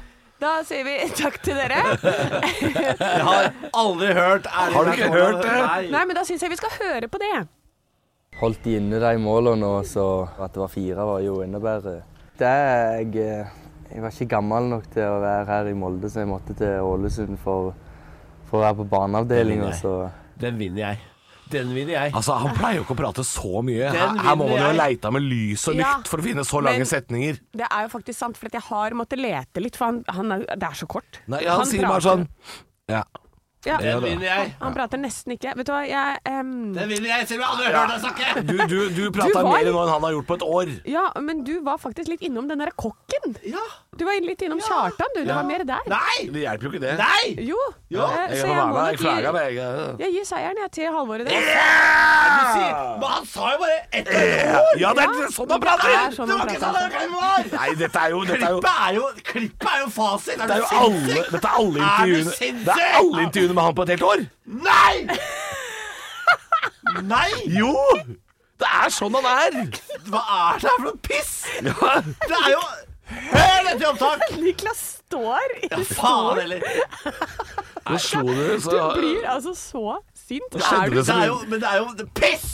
S5: da sier vi takk til dere.
S4: Jeg har aldri hørt Erling Har du ikke hørt det?
S5: Nei, men da syns jeg vi skal høre på det.
S9: holdt de inne de målene, og så at det var fire var jo enda bedre. Det er jeg eh, Jeg var ikke gammel nok til å være her i Molde, så jeg måtte til Ålesund for, for å være på barneavdelinga, så
S4: Den vinner jeg. Den vinner jeg.
S8: Altså, Han pleier jo ikke å prate så mye.
S4: Den
S8: Her, her må man jo
S4: vinner
S8: ha
S4: jeg.
S8: leita med lys og
S5: Ja,
S8: lykt for å finne så lange
S5: men-
S8: setninger.
S5: Det er jo faktisk sant, for at jeg har måttet lete litt, for han, han er, det er så kort.
S8: Nei, ja, han, sier bare sånn
S5: prater-
S8: Ja.
S5: Ja,
S4: Den vinner jeg.
S5: han prater nesten ikke. Vet du hva, jeg ehm,
S4: Den vinner jeg, selv om jeg aldri har hørt deg snakke.
S8: Du, du, du prata
S5: var-
S8: mer nå enn han har gjort på et år.
S5: Ja, men du var faktisk litt innom den der kokken.
S4: Ja.
S5: Du var litt innom Kjartan, du. Det var mer der.
S4: Nei!
S8: Det hjelper jo ikke det.
S4: Nei!
S5: Jo.
S8: Ja,
S5: eh,
S8: jeg
S5: så
S8: kan
S5: jeg
S8: være med.
S5: må nok
S8: Jeg
S5: gi-
S8: klager, men jeg
S5: Jeg gir seieren jeg, til Halvoret. Det
S4: Du sier, men han sa jo bare ett ord!
S8: Ja, det er sånn han prater!
S5: er sånn
S4: Det
S5: han
S4: var ikke sånn
S5: prater.
S4: det var!
S8: Nei, dette er jo, dette er jo
S4: Klippet er jo, klippet er jo fasit!
S8: Det er jo alle, dette er alle
S4: Er du
S8: intervjuene Det er
S4: sinnssyk?
S8: alle intervjuene med han på et helt år
S3: [laughs]
S4: Nei! Nei!
S8: Jo, det er sånn han er
S4: Hva er det her for noe piss?! Det er jo Hør etter opptak!
S5: [laughs] Niklas står i
S4: Faen heller.
S3: Nå slo du, så,
S5: Du blir altså så sint.
S3: skjedde
S5: Er
S3: det
S5: du
S4: Det
S3: så
S4: er
S3: mye-
S4: jo, men det er jo piss!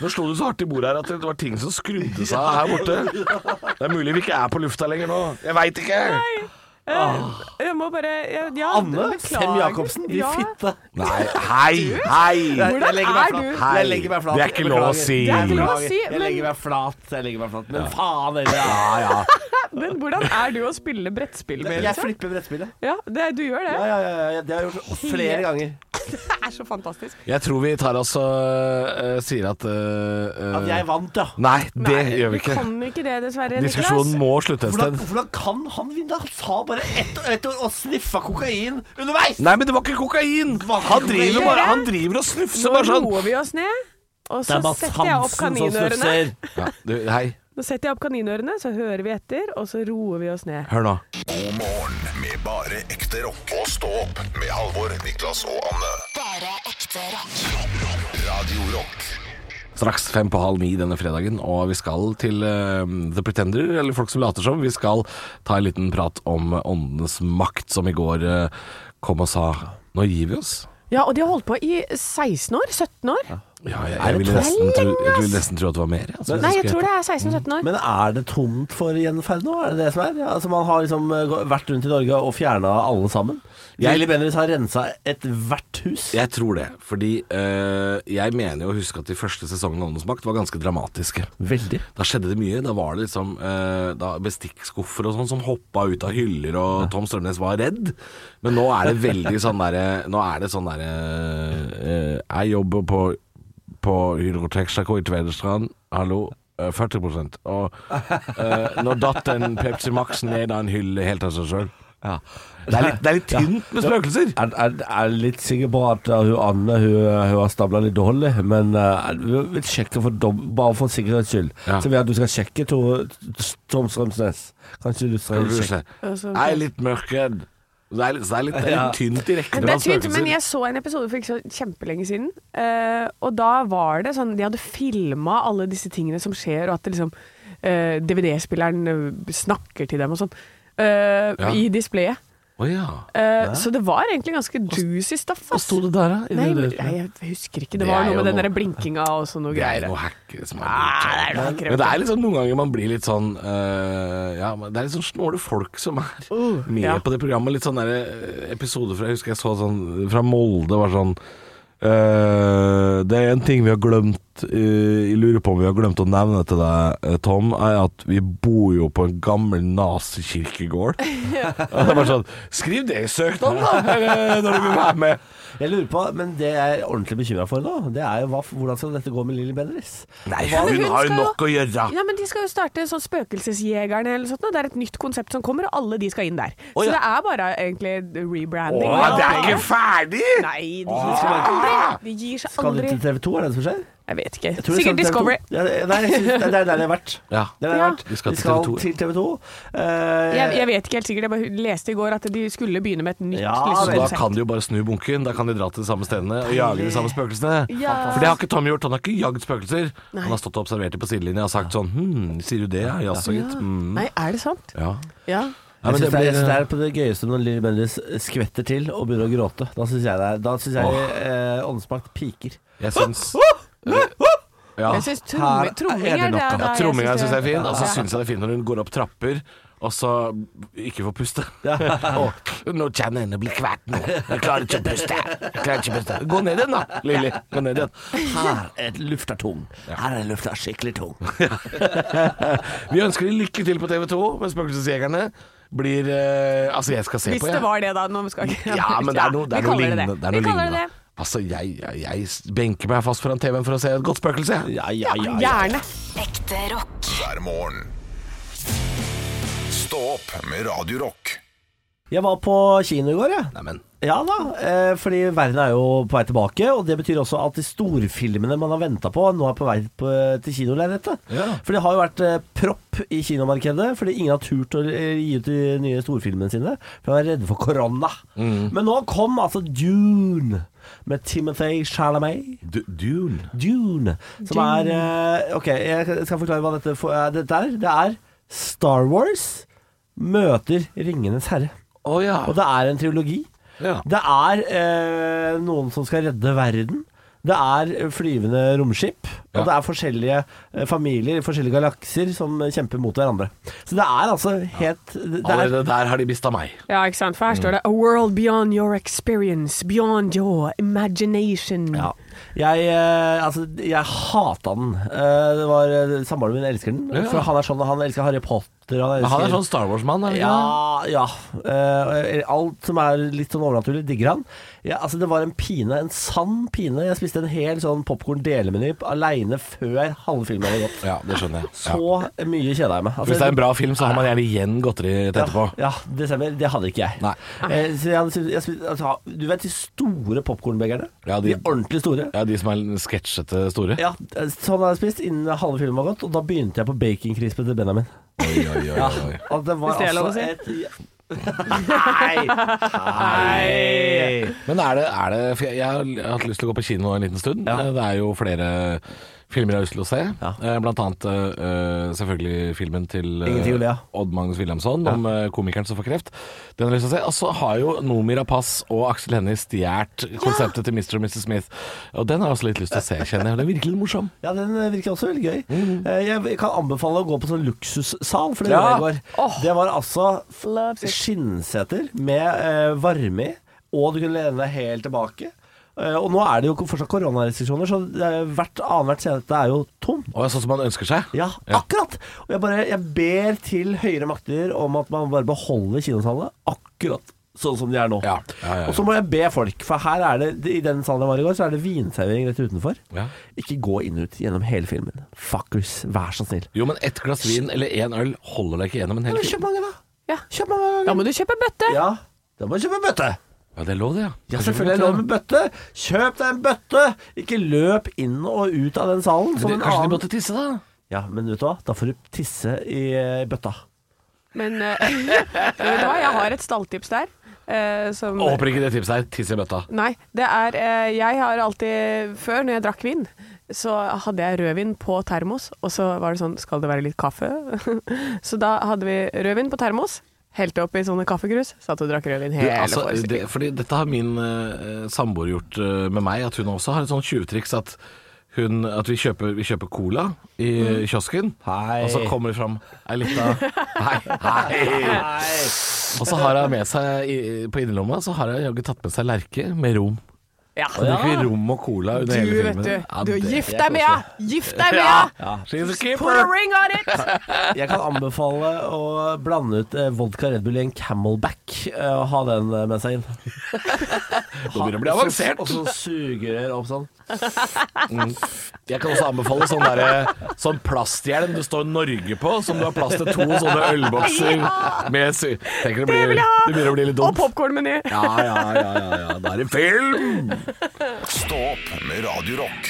S3: nå slo du så hardt i bordet her at det var ting som skrudde seg her borte. Det er mulig vi ikke er på lufta lenger nå. Jeg veit ikke.
S5: Jeg må bare jeg- ja,
S4: Anne
S5: beklager.
S4: Sem Jacobsen, din
S5: Ja.
S4: fitte.
S3: Nei, hei, hei.
S4: legger
S5: Hvordan
S4: meg flat.
S5: er du?
S4: Jeg legger meg flat.
S3: Det er ikke lov å
S4: Beklager.
S3: si.
S5: Det er ikke lov å
S4: Beklager.
S5: si,
S4: Jeg
S5: men-
S4: legger meg flat. Jeg legger meg flat. Men faen heller.
S3: Ja,
S4: ja.
S3: ja.
S5: Men hvordan er du å spille brettspill med?
S4: Jeg
S5: Liksom?
S4: flipper brettspillet.
S5: Ja, det, du gjør det.
S4: Ja, ja, ja, ja. Det har jeg gjort flere ganger.
S5: [laughs] Det er så fantastisk.
S3: Jeg tror vi tar oss og øh, sier at øh,
S4: At jeg vant, ja.
S3: Nei, det
S5: Nei,
S3: gjør vi ikke.
S5: Du kan ikke det, dessverre,
S3: Diskusjonen
S5: Niklas.
S3: må slutte et
S4: Hvordan,
S3: sted.
S4: hvordan kan han vinne? Han sa bare ett og ett år og sniffa kokain underveis!
S3: Nei, men det var ikke kokain!
S4: var ikke
S3: Han driver,
S4: kokain.
S3: bare, han driver og snufser
S5: Nå
S3: bare sånn.
S5: roer vi oss ned, og så setter jeg opp kaninørene.
S4: snufser.
S3: Ja, du, hei,
S5: Nå setter jeg opp kaninørene, så hører vi etter, og så roer vi oss ned.
S3: hør nå.
S2: God morgen med bare ekte rock. Og stå opp med Halvor, Niklas og Anne.
S1: Bare ekte rock.
S2: Radio Rock.
S3: Straks fem på halv ni denne fredagen, og vi skal til eh, The Pretender, eller folk som later som. Vi skal ta en liten prat om åndenes makt, som i går eh, kom og sa nå gir vi oss.
S5: Ja, og de har holdt på i 16 år? 17 år?
S3: Ja, jeg,
S4: det
S3: jeg, ville
S4: tolv?
S3: nesten tro, jeg ville nesten tro at det var mer. Altså,
S5: Nei, jeg tror det er 16-17 år.
S3: Mm.
S4: Men er det tomt for gjenferd nå? Er det det som er? Altså Man har liksom eh, gå- vært rundt i Norge og fjerna alle sammen. Jelly Bendriss har rensa ethvert hus.
S3: Jeg tror det, fordi eh, jeg mener jo å huske at de første sesongene av Åndens makt var ganske dramatiske.
S4: Veldig.
S3: Da skjedde det mye. Da var det liksom eh, da bestikkskuffer og sånn som hoppa ut av hyller, og Tom Strømnes var redd. Men nå er det veldig sånn derre Nå er det sånn derre eh, Jeg jobber på, på Hydrotex-sjako i Tvedestrand. Hallo. eh, 40 Og eh, nå datt den Pepsi Max ned av en hylle helt av seg sjøl. Det, er litt- det er litt tynt med spøkelser.
S4: Er, er, er litt sikker på at uh, hun Anne hun, hun har stabla litt dårlig, men uh, vi vil sjekke for dom, bare for sikkerhets skyld.
S3: Ja.
S4: Så vil jeg at du skal sjekke to, Tom Strømsnes. Kanskje du skal sjekke
S5: Altså,
S3: Jeg er litt mørkredd. Det er litt, så det er litt, det er litt tynt i rekkene
S5: Det er
S3: av
S5: tynt,
S3: spøkelser.
S5: men jeg så en episode for ikke så kjempelenge siden. eh, og da var det sånn De hadde filma alle disse tingene som skjer, og at det liksom eh, DVD-spilleren eh, snakker til dem og sånn. eh,
S3: Ja.
S5: I displayet.
S3: Å ja.
S5: Eh, Så det var egentlig ganske juicy stuff. ass.
S3: det der, da?
S5: Nei, men, nei, jeg husker ikke. Det
S3: Det
S5: var
S3: er
S5: noe
S3: jo
S5: med den
S3: noe-
S5: der blinkinga og sånn noe
S3: Det er
S5: greier.
S3: noe hack som er
S5: Ah, det er noe hack,
S3: men, men det er liksom noen ganger man blir litt sånn eh, Ja, men det er litt sånn snåle folk som er med
S5: Uh, ja.
S3: på det programmet. Litt sånn derre episode fra Jeg husker jeg så sånn fra Molde var sånn eh, det er en ting vi har glemt eh, Jeg lurer på om vi har glemt å nevne til deg, eh, Tom, er at vi bor jo på en gammel
S5: [laughs]
S3: nazikirkegård. Og det er bare sånn Skriv det i søknaden, da! eh, Når du vil være med.
S4: Jeg lurer på, men det jeg er ordentlig bekymra for nå, det er jo hva, hvordan skal dette gå med Lilly Bendriss?
S3: Nei,
S5: Men
S3: hun
S5: hun
S3: har jo
S5: skal jo-
S3: nok å gjøre.
S5: Ja, men De skal jo starte sånn Spøkelsesjegerne eller sånt. nå. Det er et nytt konsept som kommer, og alle de skal inn der.
S3: Å, ja.
S5: Så det er bare egentlig rebranding.
S3: Å, det er Ah. ikke ferdig!
S5: Nei, de gir seg aldri. De gir seg
S4: Skal de
S5: aldri.
S4: til TV 2, er det det som skjer?
S5: Jeg vet ikke.
S4: Jeg tror de skal
S5: Sikkert
S4: til TV2.
S5: Discovery.
S4: Ja, det- nei, jeg synes, det er der de har vært.
S3: Ja.
S4: Det er der de
S5: Ja.
S4: har vært.
S3: De skal til TV2, ja.
S4: til TV Eh, 2.
S5: Jeg, jeg vet ikke helt sikkert. Jeg bare leste i går at de skulle begynne med et nytt
S4: Ja,
S5: liksom,
S3: Så da
S5: konsept.
S3: kan de jo bare snu bunken. Da kan de dra til de samme stedene og jage de samme spøkelsene.
S5: Ja.
S3: For det har ikke Tom gjort. Han har ikke jagd spøkelser.
S5: Nei.
S3: Han har stått og observert dem på sidelinja og sagt sånn Hm, sier du det? Ja, jaså, gitt. Mm.
S5: Nei, er det sant?
S3: Ja.
S5: Ja.
S3: Ja, men det
S4: jeg synes det, eh, er- jeg synes det
S3: blir
S4: er på det gøyeste når Lilly Bendriss skvetter til og begynner å gråte. Da syns jeg, det er- da synes jeg eh, åndsmakt piker.
S3: eh, Jeg syns Ja.
S5: Jeg syns tromming tromming er det
S4: nok av-
S5: da
S3: ja
S5: jeg
S3: Tromminga
S5: synes
S3: syns jeg er
S5: det-
S3: fin. Og så
S5: Ja.
S3: syns jeg det er fint når hun går opp trapper. Og så ikke får
S4: [laughs]
S3: puste. Og, nå kjenner jeg henne bli kvert nå. Jeg klarer ikke å puste. Jeg klarer ikke å puste. Gå ned igjen, da, Lilly. Gå ned igjen.
S5: [laughs]
S4: Her er lufta tung. Her er lufta skikkelig tung.
S3: Vi ønsker deg lykke til på TV 2 med Spøkelsesjegerne. Blir eh, Altså, jeg skal se
S5: Hvis
S3: på,
S5: det
S3: jeg.
S5: var det, da. Nå skal ikke
S3: Ja, men det er noe, det
S5: Vi
S3: er noe
S5: kaller
S3: lignende.
S5: det.
S3: Det er
S5: Vi
S3: noe
S5: kaller det
S3: lignende.
S5: det.
S3: Altså, jeg, jeg, jeg benker meg fast foran TV-en for å se et godt spøkelse. jeg.
S4: Ja, ja, ja. ja.
S5: Gjerne.
S1: Ekte rock.
S2: hver morgen. Stå opp med Radio Rock.
S4: Jeg var på kino i går, jeg.
S3: Neimen.
S4: Ja da, eh, fordi verden er jo på vei tilbake, og det betyr også at de storfilmene man har venta på, nå er på vei på, eh, til kinolerretet.
S3: Ja.
S4: For det har jo vært eh, propp i kinomarkedet, fordi ingen har turt å eh, gi ut de nye storfilmene sine. For de er redde for korona.
S3: Mm.
S4: Men nå kom altså Dune med Timothy Chalamet.
S3: Du- Dune.
S4: Dune, som er eh, Ok, jeg skal forklare hva dette, for, eh, dette er. Det er Star Wars møter Ringenes herre.
S3: Å ja.
S4: Og det er en trilogi.
S3: Ja.
S4: Det er eh, noen som skal redde verden. Det er flyvende romskip, og
S3: Ja.
S4: det er forskjellige eh, familier i forskjellige galakser som kjemper mot hverandre. Så det er altså helt det, det er,
S3: Allerede der har de mista meg.
S5: Ja, ikke sant?
S3: Mm.
S5: For her står det A world beyond your experience, beyond your imagination.
S4: ja. Jeg, eh, altså, jeg hata den. Eh, det var eh, Samboeren min elsker den.
S3: Ja.
S4: For han er sånn, han elsker Harry Potter. Han
S3: Men
S4: elsker
S3: han er sånn Star Wars-mann, er han ikke det?
S4: Ja, ja. Eh, alt som er litt sånn overnaturlig, digger han. Ja, altså, det var en pine, en sann pine. Jeg spiste en hel sånn popkorn-delemeny aleine før halve filmen hadde gått.
S3: Ja, det skjønner jeg. Ja.
S4: Så mye kjeda jeg meg. Altså,
S3: Hvis det er en bra film, så har man gjerne igjen godteri til etterpå.
S4: ja, det stemmer. Det hadde ikke jeg.
S3: Nei.
S4: Eh, så jeg, hadde- jeg spiste, altså, du vet de store popkornbegerne?
S3: Ja,
S4: de,
S3: de-
S4: ordentlig store?
S3: Ja, De som er sketsjete store?
S4: Ja, sånn har jeg spist innen halve filmen var gått, og da begynte jeg på baconkrispe til Benjamin.
S3: Oi, oi, oi, oi.
S4: Og det var
S5: Hvis det er lov å
S4: altså et [laughs] Nei! Nei!
S3: Men er det, er det for jeg, jeg har- jeg har hatt lyst til å gå på kino en liten stund. Eh, Det er jo flere filmer jeg har lyst til å se. Eh, Blant annet eh, selvfølgelig filmen til eh,
S4: Ingenting å le av.
S3: Odd Magnus Williamson om eh, komikeren som får kreft. Den har jeg lyst til å se. Og så har jo Noomi Rapace og Aksel Hennie stjålet konseptet til Mr. og Mrs. Smith. Og den har jeg også litt lyst til å se, kjenner jeg. Den er virkelig morsom.
S4: Ja, den virker også veldig gøy. Eh, Jeg kan anbefale å gå på sånn luksussal, for det
S3: Ja.
S4: gjorde jeg i går. Det var altså skinnseter med eh, varme i, og du kunne lene deg helt tilbake. Eh, og nå er det jo fortsatt koronarestriksjoner, så det er hvert annethvert sete er jo tomt.
S3: Og sånn som man ønsker seg.
S4: Ja,
S3: Ja.
S4: akkurat! Og jeg bare jeg ber til høyere makter om at man bare beholder kinosalene akkurat sånn som de er nå.
S3: Ja, ja, ja, ja.
S4: Og så må jeg be folk, for her er det i den salen jeg var i går, så er det vinservering rett utenfor.
S3: Ja.
S4: Ikke gå inn ut gjennom hele filmen. Fuckers, vær så snill.
S3: Jo, men ett glass vin eller én øl holder deg ikke gjennom en hel
S4: Men
S3: film.
S4: Kjøp mange, da.
S5: Ja.
S4: Kjøp mange
S5: Da
S4: ganger.
S5: må du kjøpe bøtte.
S4: Ja, da må du kjøpe bøtte.
S3: Ja, det er lov, det, ja.
S4: Ja, selvfølgelig er det lov med bøtte. Kjøp deg en bøtte! Ikke løp inn og ut av den salen som en
S3: Kanskje de
S4: annen.
S3: måtte tisse, da?
S4: Ja, men vet du hva? Da får du tisse i eh, bøtta.
S5: Men eh, [laughs] vet du hva, jeg har et stalltips der. eh, som,
S3: Jeg håper ikke det tipset her. Tiss i bøtta.
S5: Nei, det er eh, Jeg har alltid Før, når jeg drakk vin, så hadde jeg rødvin på termos, og så var det sånn Skal det være litt kaffe? [laughs] så da hadde vi rødvin på termos, helte oppi sånne kaffekrus, satt og drakk rødvin
S3: Du,
S5: hele
S3: altså, det,
S5: forestillingen.
S3: fordi dette har min eh, samboer gjort eh, med meg, at hun også har et sånt tjuvtriks at hun, at vi kjøper, vi kjøper cola i
S5: Mm.
S3: kiosken,
S4: Hei.
S3: og så kommer det fram ei
S5: [laughs]
S3: lita Hei, hei. Og så har hun med seg i, på innerlomma så har hun jaggu tatt med seg lerke med rom.
S5: Ja.
S3: Da drikker vi rom og cola under
S5: Du,
S3: hele
S5: vet
S3: filmen.
S5: du.
S3: Ja,
S5: Du,
S3: det-
S5: gift deg med henne! Gift
S3: [laughs]
S5: deg med henne!
S3: She's a
S5: Put a
S3: keeper!
S5: ring on it!
S4: Jeg kan anbefale å blande ut eh, vodka Red Bull i en Camelback eh, og ha den eh, med seg inn.
S3: Nå begynner det å bli avansert.
S4: Og så sugerør opp sånn.
S3: Jeg kan også anbefale sånn, derre- sånn plasthjelm det står Norge på, som du har plass til to sånne ølbokser med sy... Tenker det, blir,
S5: vil jeg
S3: det
S5: ha!
S3: begynner å bli litt
S5: Og
S3: dumt.
S5: popkornmeny.
S3: Ja, ja, ja, ja, ja. Da er det film!
S2: Stå opp med Radio Rock.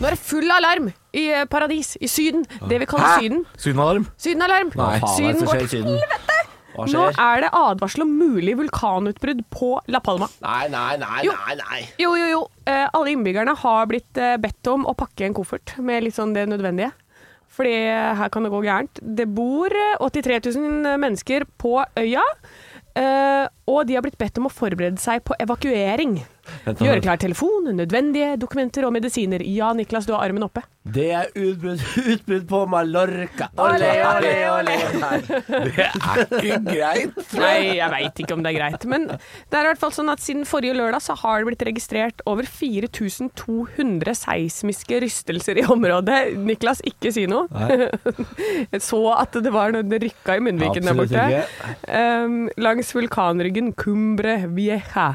S5: Nå er det full alarm i eh, paradis, i Syden. Det vi kaller Syden.
S3: Sydenalarm.
S5: Sydenalarm.
S4: Hva faen er det
S5: Syden
S4: som
S5: går
S4: skjer i Syden? Hva
S5: Nå
S4: skjer?
S5: er det advarsel om mulig vulkanutbrudd på La Palma.
S4: Nei, nei, nei,
S5: Jo.
S4: nei. nei.
S5: Jo, jo, jo. Eh, alle innbyggerne har blitt eh, bedt om å pakke en koffert med litt sånn det nødvendige. Fordi eh, her kan det gå gærent. Det bor eh, 83 000 mennesker på øya. eh, og de har blitt bedt om å forberede seg på evakuering.
S4: Vent nå,
S5: Gjøre
S4: vent.
S5: klar telefon, nødvendige dokumenter og medisiner. Ja, Niklas, du har armen oppe.
S4: Det er [laughs] utbrudd, utbrudd på Mallorca.
S3: Det er ikke greit.
S5: [laughs] Nei, jeg veit ikke om det er greit. Men det er i hvert fall sånn at siden forrige lørdag så har det blitt registrert over 4200 seismiske rystelser i området. Niklas, ikke si noe. Jeg [laughs] så at det var noe det rykka i munnviken der
S4: Absolutt
S5: borte.
S4: ikke.
S5: Ehm, langs vulkanryggen Cumbre Vieja.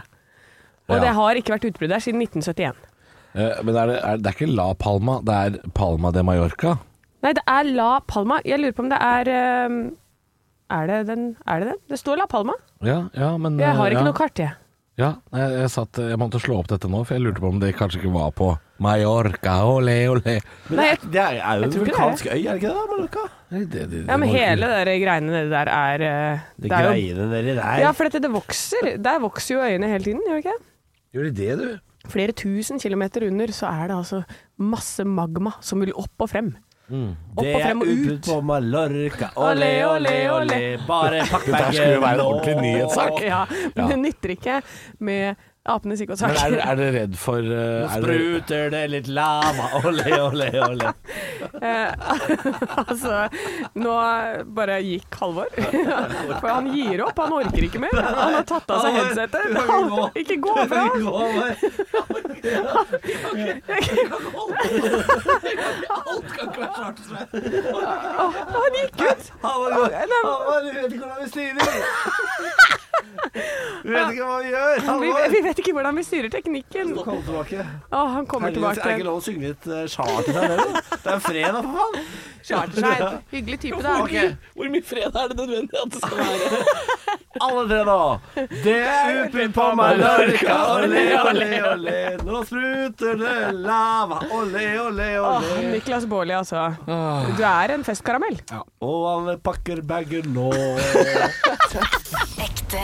S5: Og
S3: Ja.
S5: det har ikke vært utbrudd der siden 1971.
S3: Eh, Men er det, er, det er ikke La Palma, det er Palma de Mallorca.
S5: Nei, det er La Palma. Jeg lurer på om det er ehm, Er det den? Er det, den? det står La Palma.
S3: Ja, ja, men
S5: Jeg har
S3: eh,
S5: ikke
S3: ja,
S5: noe kart, jeg.
S3: Ja, jeg, jeg, satt, jeg måtte slå opp dette nå, for jeg lurte på om det kanskje ikke var på Mallorca. Ole, ole.
S4: Men
S5: Nei,
S4: det er,
S5: jeg-
S4: det er, er jo
S5: jeg
S4: en
S5: tror ikke det.
S4: vulkansk øy, er det ikke det? da, Mallorca?
S3: Nei, det- det- det
S5: Ja, men
S3: må ikke-
S5: hele det der greiene nedi der er eh,
S4: Det
S5: Det er jo
S4: greiene dere der.
S5: Ja, for dette, det vokser. Der vokser jo øyene hele tiden, gjør det ikke? det?
S3: Gjør de det, du?
S5: Flere tusen kilometer under så er det altså masse magma som vil opp og frem. Opp
S4: det
S5: og
S4: er
S5: frem og
S4: utbrudd
S5: ut.
S4: på Mallorca. Ole,
S5: Ole,
S4: ole,
S5: ole,
S4: ole. Bare pakk bagen.
S3: Dette skulle jo være en ordentlig nyhetssak.
S5: Ja, men det nytter ikke med apenes
S3: Men er,
S5: [laughs] psykosak.
S3: er dere redd for eh, er dere-
S4: Spruter det litt lava. Ole, ole, ole.
S5: altså, nå bare gikk Halvor. For han gir opp, han orker ikke mer. Han har tatt av seg
S4: Halvor, du
S5: headsetet.
S4: må ikke gå.
S5: Ikke gå fra han! Han gikk ut!
S4: Halvor, du vet ikke hvordan vi styrer. Du vet ikke hva vi gjør.
S5: Vi,
S4: Halvor.
S5: vi vet ikke hvordan vi styrer teknikken.
S4: Kom tilbake.
S5: Å, han kommer
S4: Herregud, er det
S5: tilbake.
S4: ikke lov å synge litt eh, charter der nede? Det er fredag, for faen.
S5: Charter seg. Hyggelig type, da.
S4: Hvor mye fred er det nødvendig at det skal være? Alle tre, da. Det er oppe på Mallorca, ole, ole, ole. Nå spruter det lava, ole, ole,
S5: Åh,
S4: ole.
S5: Niklas Baarli, altså. Du er en festkaramell.
S4: Og alle pakker bagen nå.
S1: Ekte